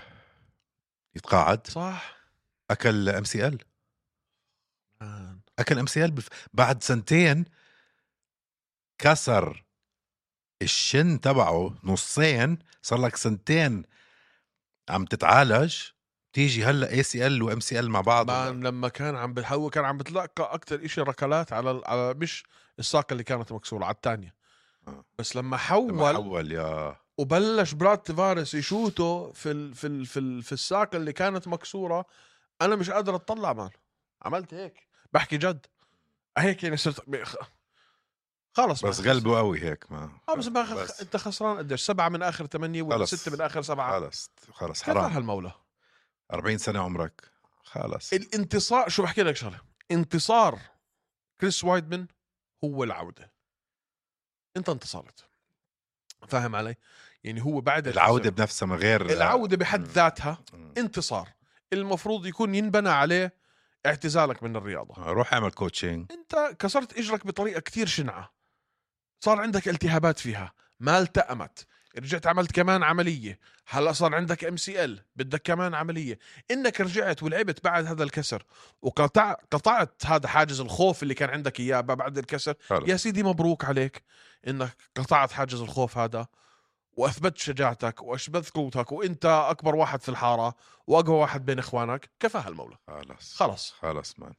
يتقاعد صح اكل ام سي ال مان. اكل ام سي ال بعد سنتين كسر الشن تبعه نصين صار لك سنتين عم تتعالج تيجي هلا اي سي ال وام سي ال مع بعض مان لما كان عم بتحول كان عم بتلقى اكثر شيء ركلات على ال- على مش الساق اللي كانت مكسوره على الثانيه آه. بس لما لما حول حول يا وبلش براد تفارس يشوته في ال في ال في, ال في الساق اللي كانت مكسوره انا مش قادر اتطلع مان عملت هيك بحكي جد هيك يعني صرت ب- خ- خلص بس مان. قلبه قوي هيك ما اه بس, ما خ... انت خسران قديش سبعه من اخر ثمانيه ولا خلص. سته من اخر سبعه خلص خلص كيف راح حرام هالمولى 40 سنه عمرك خلص الانتصار شو بحكي لك شغله انتصار كريس وايدمان هو العوده انت انتصرت فاهم علي يعني هو بعد العوده بنفسها من غير العوده بحد مم. ذاتها مم. انتصار المفروض يكون ينبنى عليه اعتزالك من الرياضه روح اعمل كوتشنج انت كسرت اجرك بطريقه كتير شنعه صار عندك التهابات فيها ما التأمت رجعت عملت كمان عملية هلا صار عندك ام سي ال بدك كمان عملية انك رجعت ولعبت بعد هذا الكسر وقطع قطعت هذا حاجز الخوف اللي كان عندك اياه بعد الكسر حلو. يا سيدي مبروك عليك انك قطعت حاجز الخوف هذا واثبت شجاعتك واثبت قوتك وانت اكبر واحد في الحاره واقوى واحد بين اخوانك كفاها المولى خلص خلص خلص مان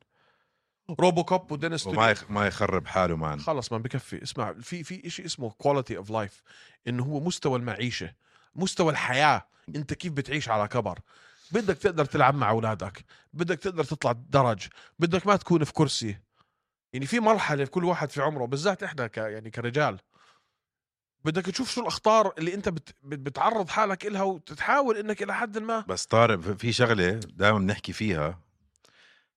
روبو كوب ودينيس وما يخ... ما يخرب حاله مان خلص ما بكفي اسمع في في شيء اسمه كواليتي اوف لايف انه هو مستوى المعيشه مستوى الحياه انت كيف بتعيش على كبر بدك تقدر تلعب مع اولادك بدك تقدر تطلع درج بدك ما تكون في كرسي يعني في مرحله في كل واحد في عمره بالذات احنا ك يعني كرجال بدك تشوف شو الاخطار اللي انت بت بت- بتعرض حالك إلها وتحاول انك الى حد ما بس طارق في- في شغله دائما بنحكي فيها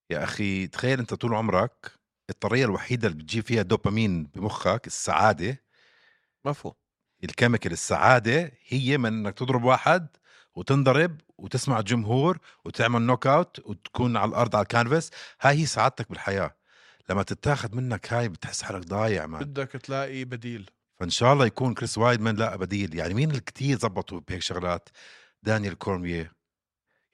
يا اخي تخيل انت طول عمرك الطريقه الوحيده اللي بتجيب فيها دوبامين بمخك السعاده مفهوم الكيميكال السعاده هي من انك تضرب واحد وتنضرب وتسمع الجمهور وتعمل نوك اوت وتكون على الارض على الكانفاس هاي هي سعادتك بالحياه لما تتاخذ منك هاي بتحس حالك ضايع مان بدك تلاقي بديل فان شاء الله يكون كريس وايدمان لا بديل يعني مين اللي كتير زبطوا بهيك شغلات دانيال كورميه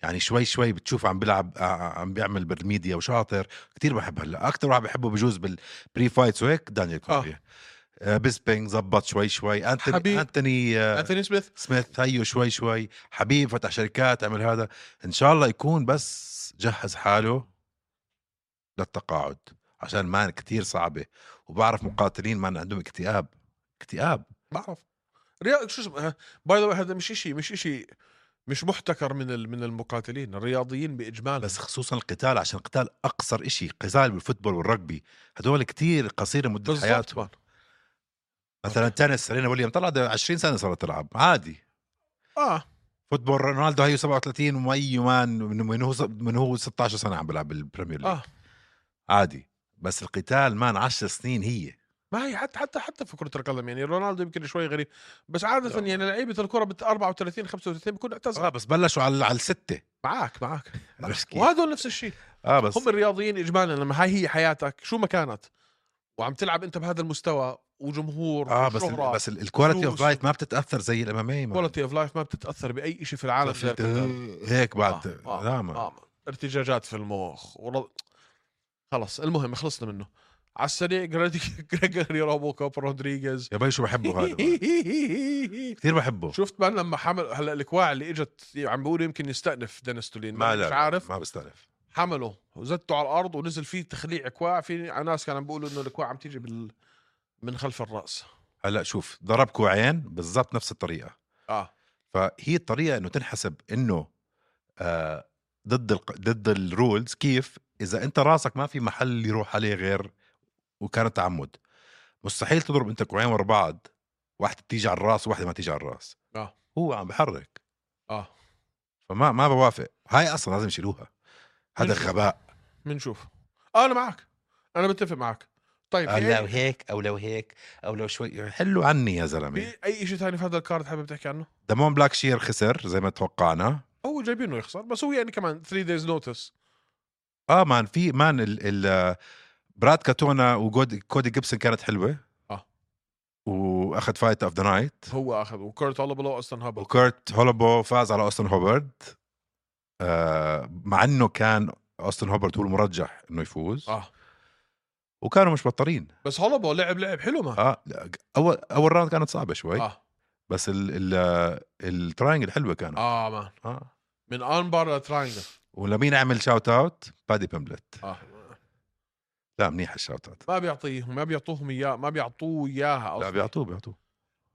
يعني شوي شوي بتشوف عم بيلعب ع- عم بيعمل بالميديا وشاطر كتير بحب هلا اكثر واحد بحبه بجوز بالبري فايتس وهيك دانيال كورميه آه. بيسبينج زبط شوي شوي حبيب. انتوني انتوني آه، انثوني سميث سميث هيو شوي شوي حبيب فتح شركات عمل هذا ان شاء الله يكون بس جهز حاله للتقاعد عشان مان كتير صعبه وبعرف مقاتلين مان عندهم اكتئاب اكتئاب بعرف رياض شو اسمه آه، باي ذا هذا مش شيء مش شيء مش محتكر من ال- من المقاتلين الرياضيين باجمال بس خصوصا القتال عشان القتال اقصر إشي قتال بالفوتبول والرugby هدول كتير قصيره مده بالضبط حياتهم مان. مثلا تنس سيرينا ويليام طلع ده 20 سنه صارت تلعب عادي اه فوتبول رونالدو هيو 37 ومي مان من من هو من هو 16 سنه عم بيلعب بالبريمير ليج اه عادي بس القتال مان 10 سنين هي ما هي حتى حتى حتى في كره القدم يعني رونالدو يمكن شوي غريب بس عاده لا. يعني لعيبه الكره بت 34 35 بكون اعتزل اه بس بلشوا على على الستة معك معك عرفت كيف؟ وهذول نفس الشيء اه بس هم الرياضيين اجمالا لما هاي هي حياتك شو ما كانت وعم تلعب انت بهذا المستوى وجمهور اه بس ال- بس ال- الكواليتي اوف فلوس. لايف ما بتتاثر زي الامامية ما كواليتي اوف لايف ما بتتاثر باي شيء في العالم بتعرف غير انت القتال. هيك بعد آه، لا ما آه ارتجاجات في المخ ورض... خلص المهم خلصنا منه على السريع جريدي- جريجوري روبو كوب رودريغيز يا بي شو بحبه هذا كثير بحبه شفت بان لما حمل هلا الكواع اللي اجت عم بيقولوا يمكن يستأنف دينيس تولين ما ما لا مش لا، عارف ما بستعرف حمله وزته على الارض ونزل فيه تخليع كواع في ناس كانوا عم بيقولوا انه الكواع عم تيجي بال... من خلف الراس هلا شوف ضرب كوعين بالضبط نفس الطريقه اه فهي الطريقه انه تنحسب انه آه ضد الق... ضد الرولز كيف اذا انت راسك ما في محل يروح عليه غير وكان تعمد مستحيل تضرب انت كوعين ورا بعض واحده تيجي على الراس وواحده ما تيجي على الراس آه. هو عم بحرك اه فما ما بوافق هاي اصلا لازم يشيلوها هذا ليش؟ غباء بنشوف آه انا معك انا بتفق معك طيب أو في لو اي هيك او لو هيك او لو شوي حلوا عني يا زلمه في اي شيء ثاني في هذا الكارد حابب تحكي عنه؟ دمون بلاك شير خسر زي ما توقعنا هو جايبينه يخسر بس هو يعني كمان 3 دايز نوتس اه مان في مان ال ال براد كاتونا وكودي جيبسون كانت حلوه آه. واخذ فايت اوف ذا نايت هو اخذ وكورت هولو بلو اصلا هبط وكورت هولبو فاز على اوستن هوبرد آه مع انه كان اوستن هوبرد هو المرجح انه يفوز اه وكانوا مش بطارين بس هولو بلو لعب لعب حلو ما اه لا، اول اول راوند كانت صعبه شوي اه بس ال ال التراينجل حلوه كانت آه. اه مان آه. من ان بار لترينجل ولمين عمل شاوت اوت بادي بيمبلت اه لا منيح الشاوت اوت ما بيعطيهم ما بيعطوهم اياه ما بيعطوه اياها لا اصلا بيعطوه بيعطوه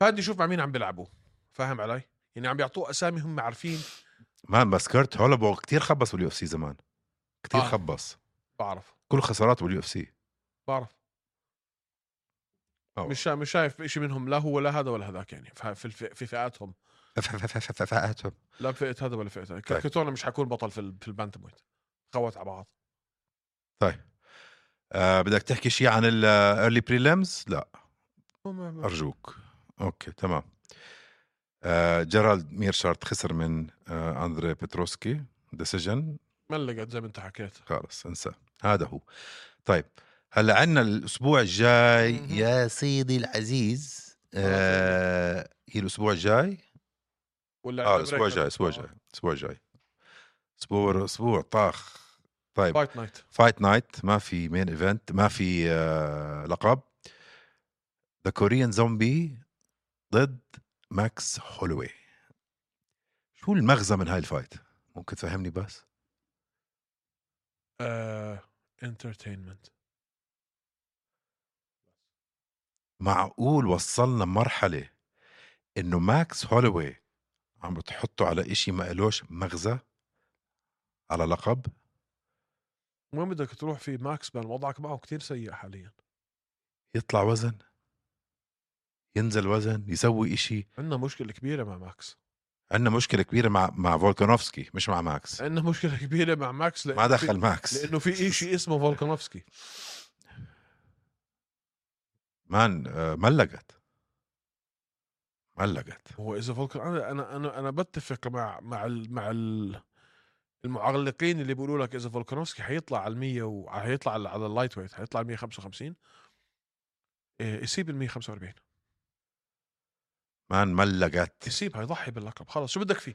فادي شوف مع مين عم بيلعبوا فاهم علي؟ يعني عم بيعطوه اسامي هم عارفين مان بس كيرت هولبو كثير خبص باليو اف سي زمان كثير آه. آه. خبص بعرف كل خساراته باليو اف سي بعرف أوه. مش شا- مش شايف شيء منهم لا هو لا هذا ولا هذاك يعني في في, الف- في فئاتهم فاقتهم لا فئه هذا ولا فئه هذا طيب. كاتونا مش حكون بطل في ال- في البانتم ويت خوت على بعض طيب آه بدك تحكي شيء عن الايرلي بريلمز لا وما- ما- ارجوك اوكي تمام آه جيرالد ميرشارت خسر من آه اندري بتروسكي ديسيجن ملقت زي ما انت حكيت خلص انسى هذا هو طيب هلا عندنا الاسبوع الجاي مهم. يا سيدي العزيز آه هي الاسبوع الجاي ولا آه، اه الاسبوع الجاي الاسبوع الجاي الاسبوع الجاي اسبوع اسبوع طاخ طيب فايت نايت فايت نايت ما في مين ايفنت ما في آه لقب ذا كوريان زومبي ضد ماكس هولوي شو المغزى من هاي الفايت ممكن تفهمني بس آه، انترتينمنت معقول وصلنا مرحلة انه ماكس هولوي عم بتحطه على اشي ما إلوش مغزى على لقب وين بدك تروح في ماكس بان وضعك معه كتير سيء حاليا يطلع وزن ينزل وزن يسوي اشي عندنا مشكله كبيره مع ماكس عندنا مشكلة كبيرة مع مع فولكانوفسكي مش مع ماكس عندنا مشكله كبيره مع ماكس إيه، لأنه ما في- دخل ماكس لانه في شيء اسمه فولكانوفسكي مان آه، ملقت ملقت هو اذا فولكان انا انا انا, أنا بتفق مع مع ال مع ال المعلقين اللي بيقولوا لك اذا فولكانوفسكي حيطلع على ال 100 وحيطلع على على اللايت ويت حيطلع على 155 إيه، يسيب ال 145 مان ملقت يسيب هيضحي باللقب خلص شو بدك فيه؟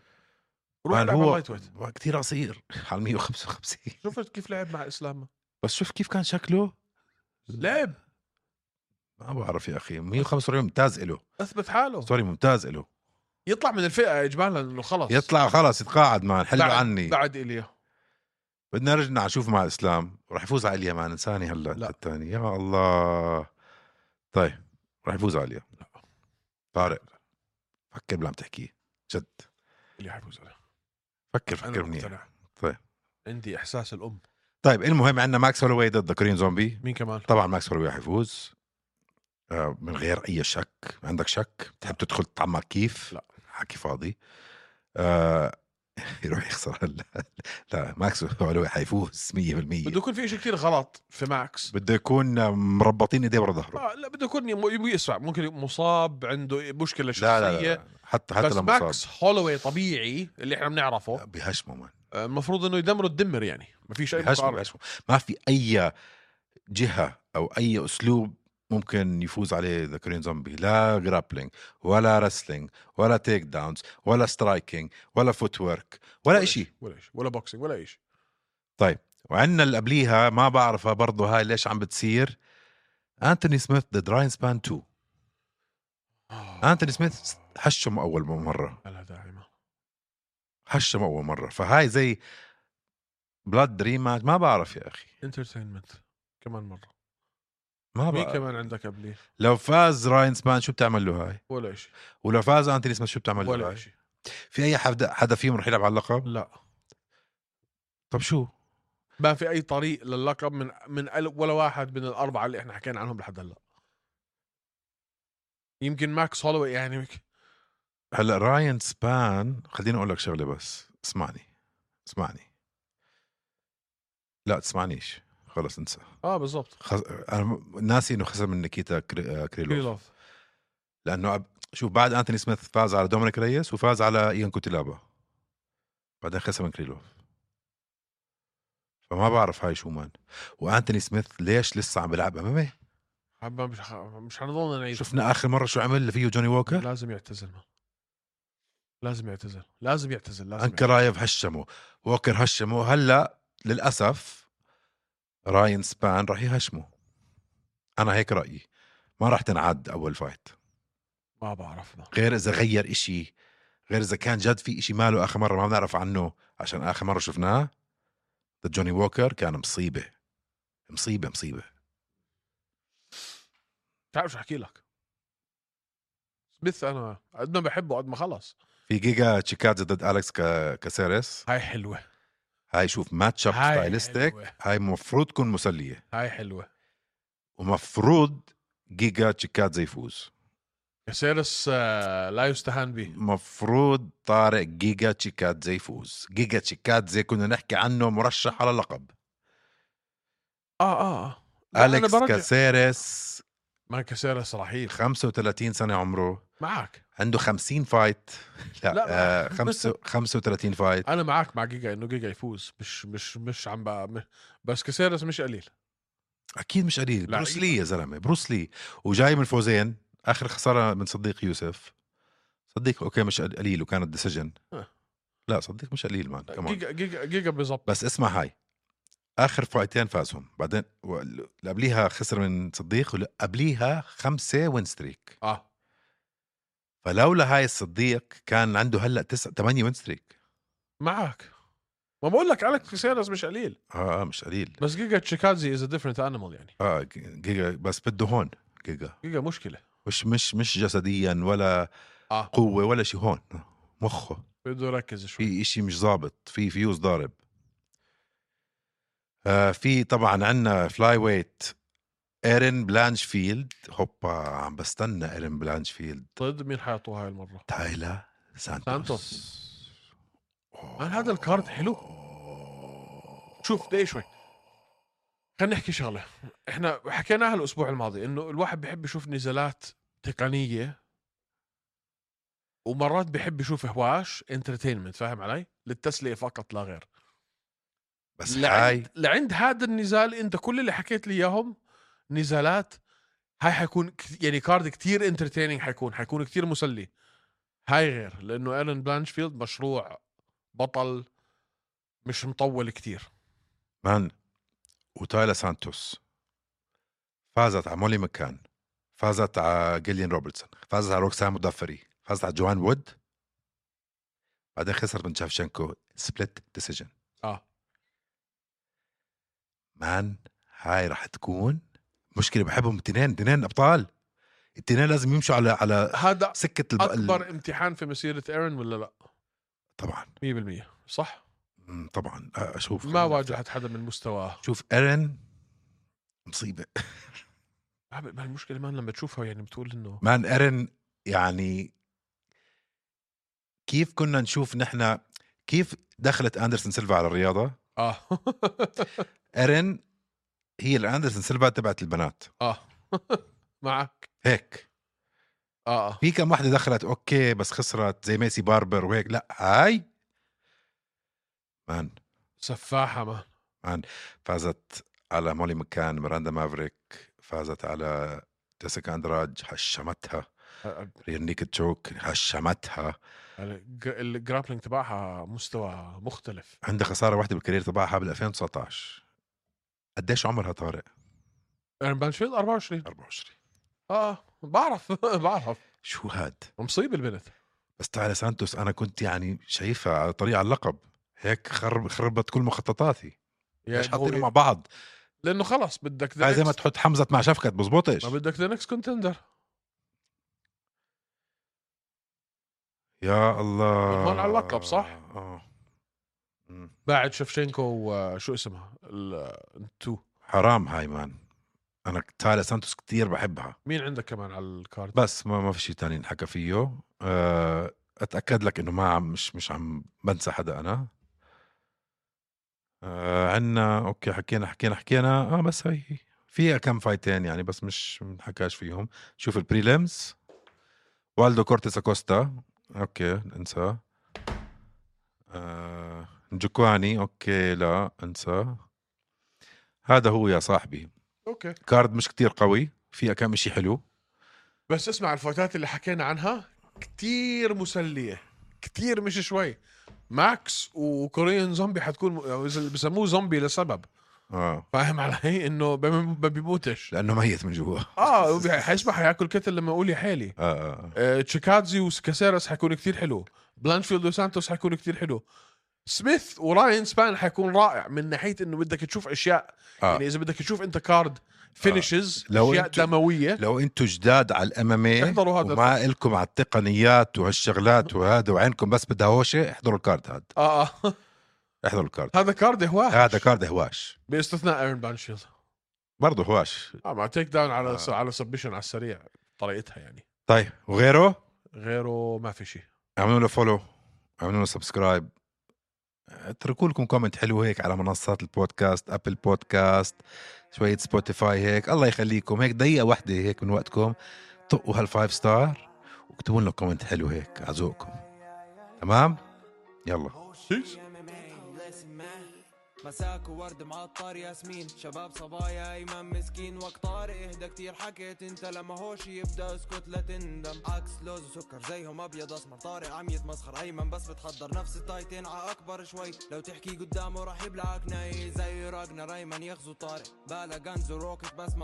روح مان العب هو هو... ويت كثير قصير على 155 شفت كيف لعب مع اسلام بس شوف كيف كان شكله لعب ما بعرف يا اخي 145 ممتاز له اثبت حاله سوري ممتاز له يطلع من الفئه اجمالا انه خلص يطلع خلاص يتقاعد مان حلو بعد- عني بعد ايليا بدنا نرجع نشوف مع اسلام راح يفوز على اليمن انساني هلا لا. الثاني يا الله طيب راح يفوز على اليمن لا. طارق فكر باللي عم تحكيه جد اللي حيفوز عليه فكر انا فكر منيح مقتنع طيب. عندي احساس الام طيب المهم عندنا ماكس هولوي ضد كورين زومبي مين كمان؟ طبعا ماكس هولوي رح يفوز آه، من غير اي شك عندك شك بتحب تدخل تعمق كيف لا. حكي فاضي آه، يروح يخسر هلا لا ماكس هولوي حيفوز 100% بده بده يكون في شيء كثير غلط في ماكس بده يكون مربطين ايديه ورا ظهره آه لا بده يكون يم- يم- يسمع ممكن يكون مصاب عنده مشكله شخصيه لا لا, لا حتى حتى بس لما نعم. ماكس صاب هولوي طبيعي اللي احنا بنعرفه بهشمه مان آه، المفروض انه يدمره الدمر يعني ما فيش اي بهشمه مقارنه بهشمه ما في اي جهه او اي اسلوب ممكن يفوز عليه ذا كورين زومبي لا جرابلينج ولا رسلينج ولا تيك داونز ولا سترايكينج ولا فوت ورك ولا شيء ولا شيء ولا بوكسينج ولا شيء وعندنا اللي قبليها ما بعرفها برضه هاي ليش عم بتصير انتوني سميث ضد راين سبان 2 انتوني سميث هشم اول مره آه، لا داعمه هشم اول مره فهاي زي بلاد دريم ماتش ما بعرف يا اخي انترتينمنت كمان مره ما مين بعرف كمان عندك قبليه لو فاز راين سبان شو بتعمل له هاي ولا شيء ولو فاز انتوني سميث شو بتعمل له ولا هاي شيء في اي حدا حدا فيهم رح يلعب على اللقب لا طب شو ما في اي طريق للقب من من ال- ولا واحد من الاربعه اللي احنا حكينا عنهم لحد هلا يمكن ماكس هولوي يعني مك- هلا راين سبان خليني اقول لك شغله بس اسمعني اسمعني لا تسمعنيش خلص انسى اه بالضبط خز... انا ناسي انه خسر من نيكيتا كري... آه، كريلوف كريلوف لانه أب... شوف بعد انتوني سميث فاز على دومينيك ريس وفاز على ايان كوتيلابا بعدين خسر من كريلوف فما بعرف هاي شو مان وانتوني سميث ليش لسه عم بيلعب إيه؟ امامي حبا مش ح- مش حنضلنا نعيد شفنا اخر مره شو عمل اللي فيه جوني ووكر لازم يعتزل ما. لازم يعتزل لازم يعتزل لازم يعتزل. انكرايف هشمه ووكر هشمه هلا للاسف راين سبان راح يهشمه انا هيك رايي ما راح تنعد اول فايت ما بعرف ما غير اذا غير إشي غير اذا كان جد في إشي ماله اخر مره ما بنعرف عنه عشان اخر مره شفناه ضد جوني ووكر كان مصيبه مصيبه مصيبه تعرف شو احكي لك سميث انا قد ما بحبه قد ما خلص في جيجا تشيكادزي ضد اليكس كا- كاسيريس هاي حلوه هاي شوف ماتش اب هاي ستايلستيك حلوة. هاي مفروض تكون مسليه هاي حلوه ومفروض جيجا تشيكادزي يفوز كاسيرس آه، لا يستهان به مفروض طارق جيجا تشيكادزي يفوز جيجا تشيكادزي كنا نحكي عنه مرشح على لقب اه اه اه لا، أنا اليكس برجع. كاسيريس ما كاسيرس رهيب 35 سنه عمره معك عنده 50 فايت لا, لا، لا. آه خمسة 35 فايت انا معك مع جيجا انه جيجا يفوز مش مش مش عم ب- م- بس كاسيرس مش قليل اكيد مش قليل لعيب. بروس لي يا زلمه بروس لي وجاي من فوزين اخر خساره من صديق يوسف صديق اوكي مش قليل وكانت ديسيجن آه. طيب، لا صديق مش قليل مان كمان جيجا جيجا جيجا بيظبط بس اسمع هاي اخر فايتين فازهم بعدين و- اللي قبليها خسر من صديق واللي قبليها خمسه وين ستريك اه فلولا هاي الصديق كان عنده هلا تسعة ثمانية وين ستريك معك ما بقول لك الك سيرس مش قليل اه آه، مش قليل بس جيجا تشيكادزي از ديفرنت انيمال يعني اه ج- جيجا بس بده هون جيجا جيجا مشكله مش مش مش جسديا ولا اه قوه ولا شيء هون مخه بده يركز شوي في إشي مش ظابط في فيوز ضارب آه في طبعا عندنا فلاي ويت ايرن بلانشفيلد هوبا عم بستنى ايرن بلانشفيلد ضد طيب، مين حيعطوها هاي المره تايلا سانتوس, سانتوس مان هذا الكارد حلو Oh. شوف دقيقة شوي خلينا نحكي شغله احنا حكيناها الاسبوع الماضي انه الواحد بيحب يشوف نزالات تقنيه ومرات بيحب يشوف هواش انترتينمنت فاهم علي للتسليه فقط لا غير بس هاي لعند, لعند هذا النزال انت كل اللي حكيت لي اياهم نزالات هاي حيكون كت- يعني كارد كتير انترتيننج حيكون حيكون كتير مسلي هاي غير لانه ايرن بلانشفيلد مشروع بطل مش مطول كتير مان وتايلا سانتوس فازت على مولي مكان فازت على جيليان روبرتسون فازت على روكسان مضفري فازت على جوان وود بعدين خسرت من شافشنكو سبلت ديسيجن اه مان هاي رح تكون مشكله بحبهم الاثنين الاثنين ابطال الاثنين لازم يمشوا على على هذا سكه الب... اكبر امتحان في مسيره ايرون ولا لا طبعا 100% صح مم، طبعا آه، اشوف ما واجهت حدا من مستواه شوف ايرن مصيبه ما المشكله مان لما تشوفها يعني بتقول انه مان ايرن يعني كيف كنا نشوف نحن كيف دخلت اندرسون سيلفا على الرياضه اه ايرن هي الاندرسون سيلفا تبعت البنات اه معك هيك اه آه. في كم واحدة دخلت اوكي بس خسرت زي ميسي باربر وهيك لا هاي مان سفاحه مان فازت على مولي مكان ميراندا مافريك فازت على جيسيكا اندراج هشمتها رينيك تشوك هشمتها الجرابلينج تبعها مستوى مختلف عندها خسارة واحدة بالكارير تبعها بال 2019 قديش عمرها طارق؟ ايرن بانشفيلد 24 24 اه بعرف بعرف شو هاد؟ مصيبه البنت بس تعالى سانتوس انا كنت يعني شايفها على طريق على اللقب هيك خرب خربت كل مخططاتي يعني ليش حاطينهم مع هو- بعض؟ لانه خلص بدك the هاي زي ما next- تحط حمزة مع شفكت بزبطش ما بدك ذا نكست كونتندر يا الله هون على اللقب، صح؟ اه مم. بعد شفشينكو وشو اسمها التو حرام هاي مان انا تالا سانتوس كتير بحبها مين عندك كمان على الكارد بس ما ما في شيء تاني نحكى فيه أه، اتاكد لك انه ما عم مش مش عم بنسى حدا انا أه عنا اوكي حكينا حكينا حكينا اه بس هي هي. فيها كم فايتين يعني بس مش منحكاش فيهم شوف البريليمز والدو كورتيس اكوستا اوكي انسى آه جوكواني اوكي لا انسى هذا هو يا صاحبي اوكي كارد مش كتير قوي فيها كم اشي حلو بس اسمع الفايتات اللي حكينا عنها كتير مسلية كتير مش شوي ماكس وكوريان زومبي حتكون أو إذا بسموه زومبي لسبب اه فاهم علي انه بم- ما بيموتش لانه ميت من جوا اه وبي- حيسمع حياكل كتل لما اقول يا حالي آه. آه، تشيكادزي وكاسيرس حيكون كتير حلو بلانشفيلد وسانتوس حيكون كتير حلو سميث وراين سبان حيكون رائع من ناحيه انه بدك تشوف اشياء آه. يعني اذا بدك تشوف انت كارد فينيشز لو اشياء أنتوا- دمويه لو انتم جداد على الامامي احضروا هذا وما الكم على التقنيات وهالشغلات وهذا وعينكم بس بدها هوشه احضروا الكارد هذا اه آه. احضروا الكارد هذا كارد هواه هذا كارد هواش باستثناء ايرن بانشيلد برضه هواش اه مع تيك داون على آه. على سبشن على السريع طريقتها يعني طيب وغيره غيره ما في شيء اعملوا له فولو اعملوا له سبسكرايب اتركوا لكم كومنت حلو هيك على منصات البودكاست ابل بودكاست شويه سبوتيفاي هيك الله يخليكم هيك دقيقه واحده هيك من وقتكم طقوا هالفايف ستار واكتبوا لنا كومنت حلو هيك على ذوقكم تمام يلا Peace. MMA. Listen, man. مساك وورد معطر ياسمين شباب صبايا ايمن مسكين وقت طارق اهدى كتير حكيت انت لما هوش يبدا اسكت لا تندم عكس لوز وسكر زيهم ابيض اسمر طارق عم يتمسخر ايمن بس بتحضر نفس التايتين ع اكبر شوي لو تحكي قدامه راح يبلعك ناي زي راجنا ريمان يغزو طارق بالا غنز وروكت بس ما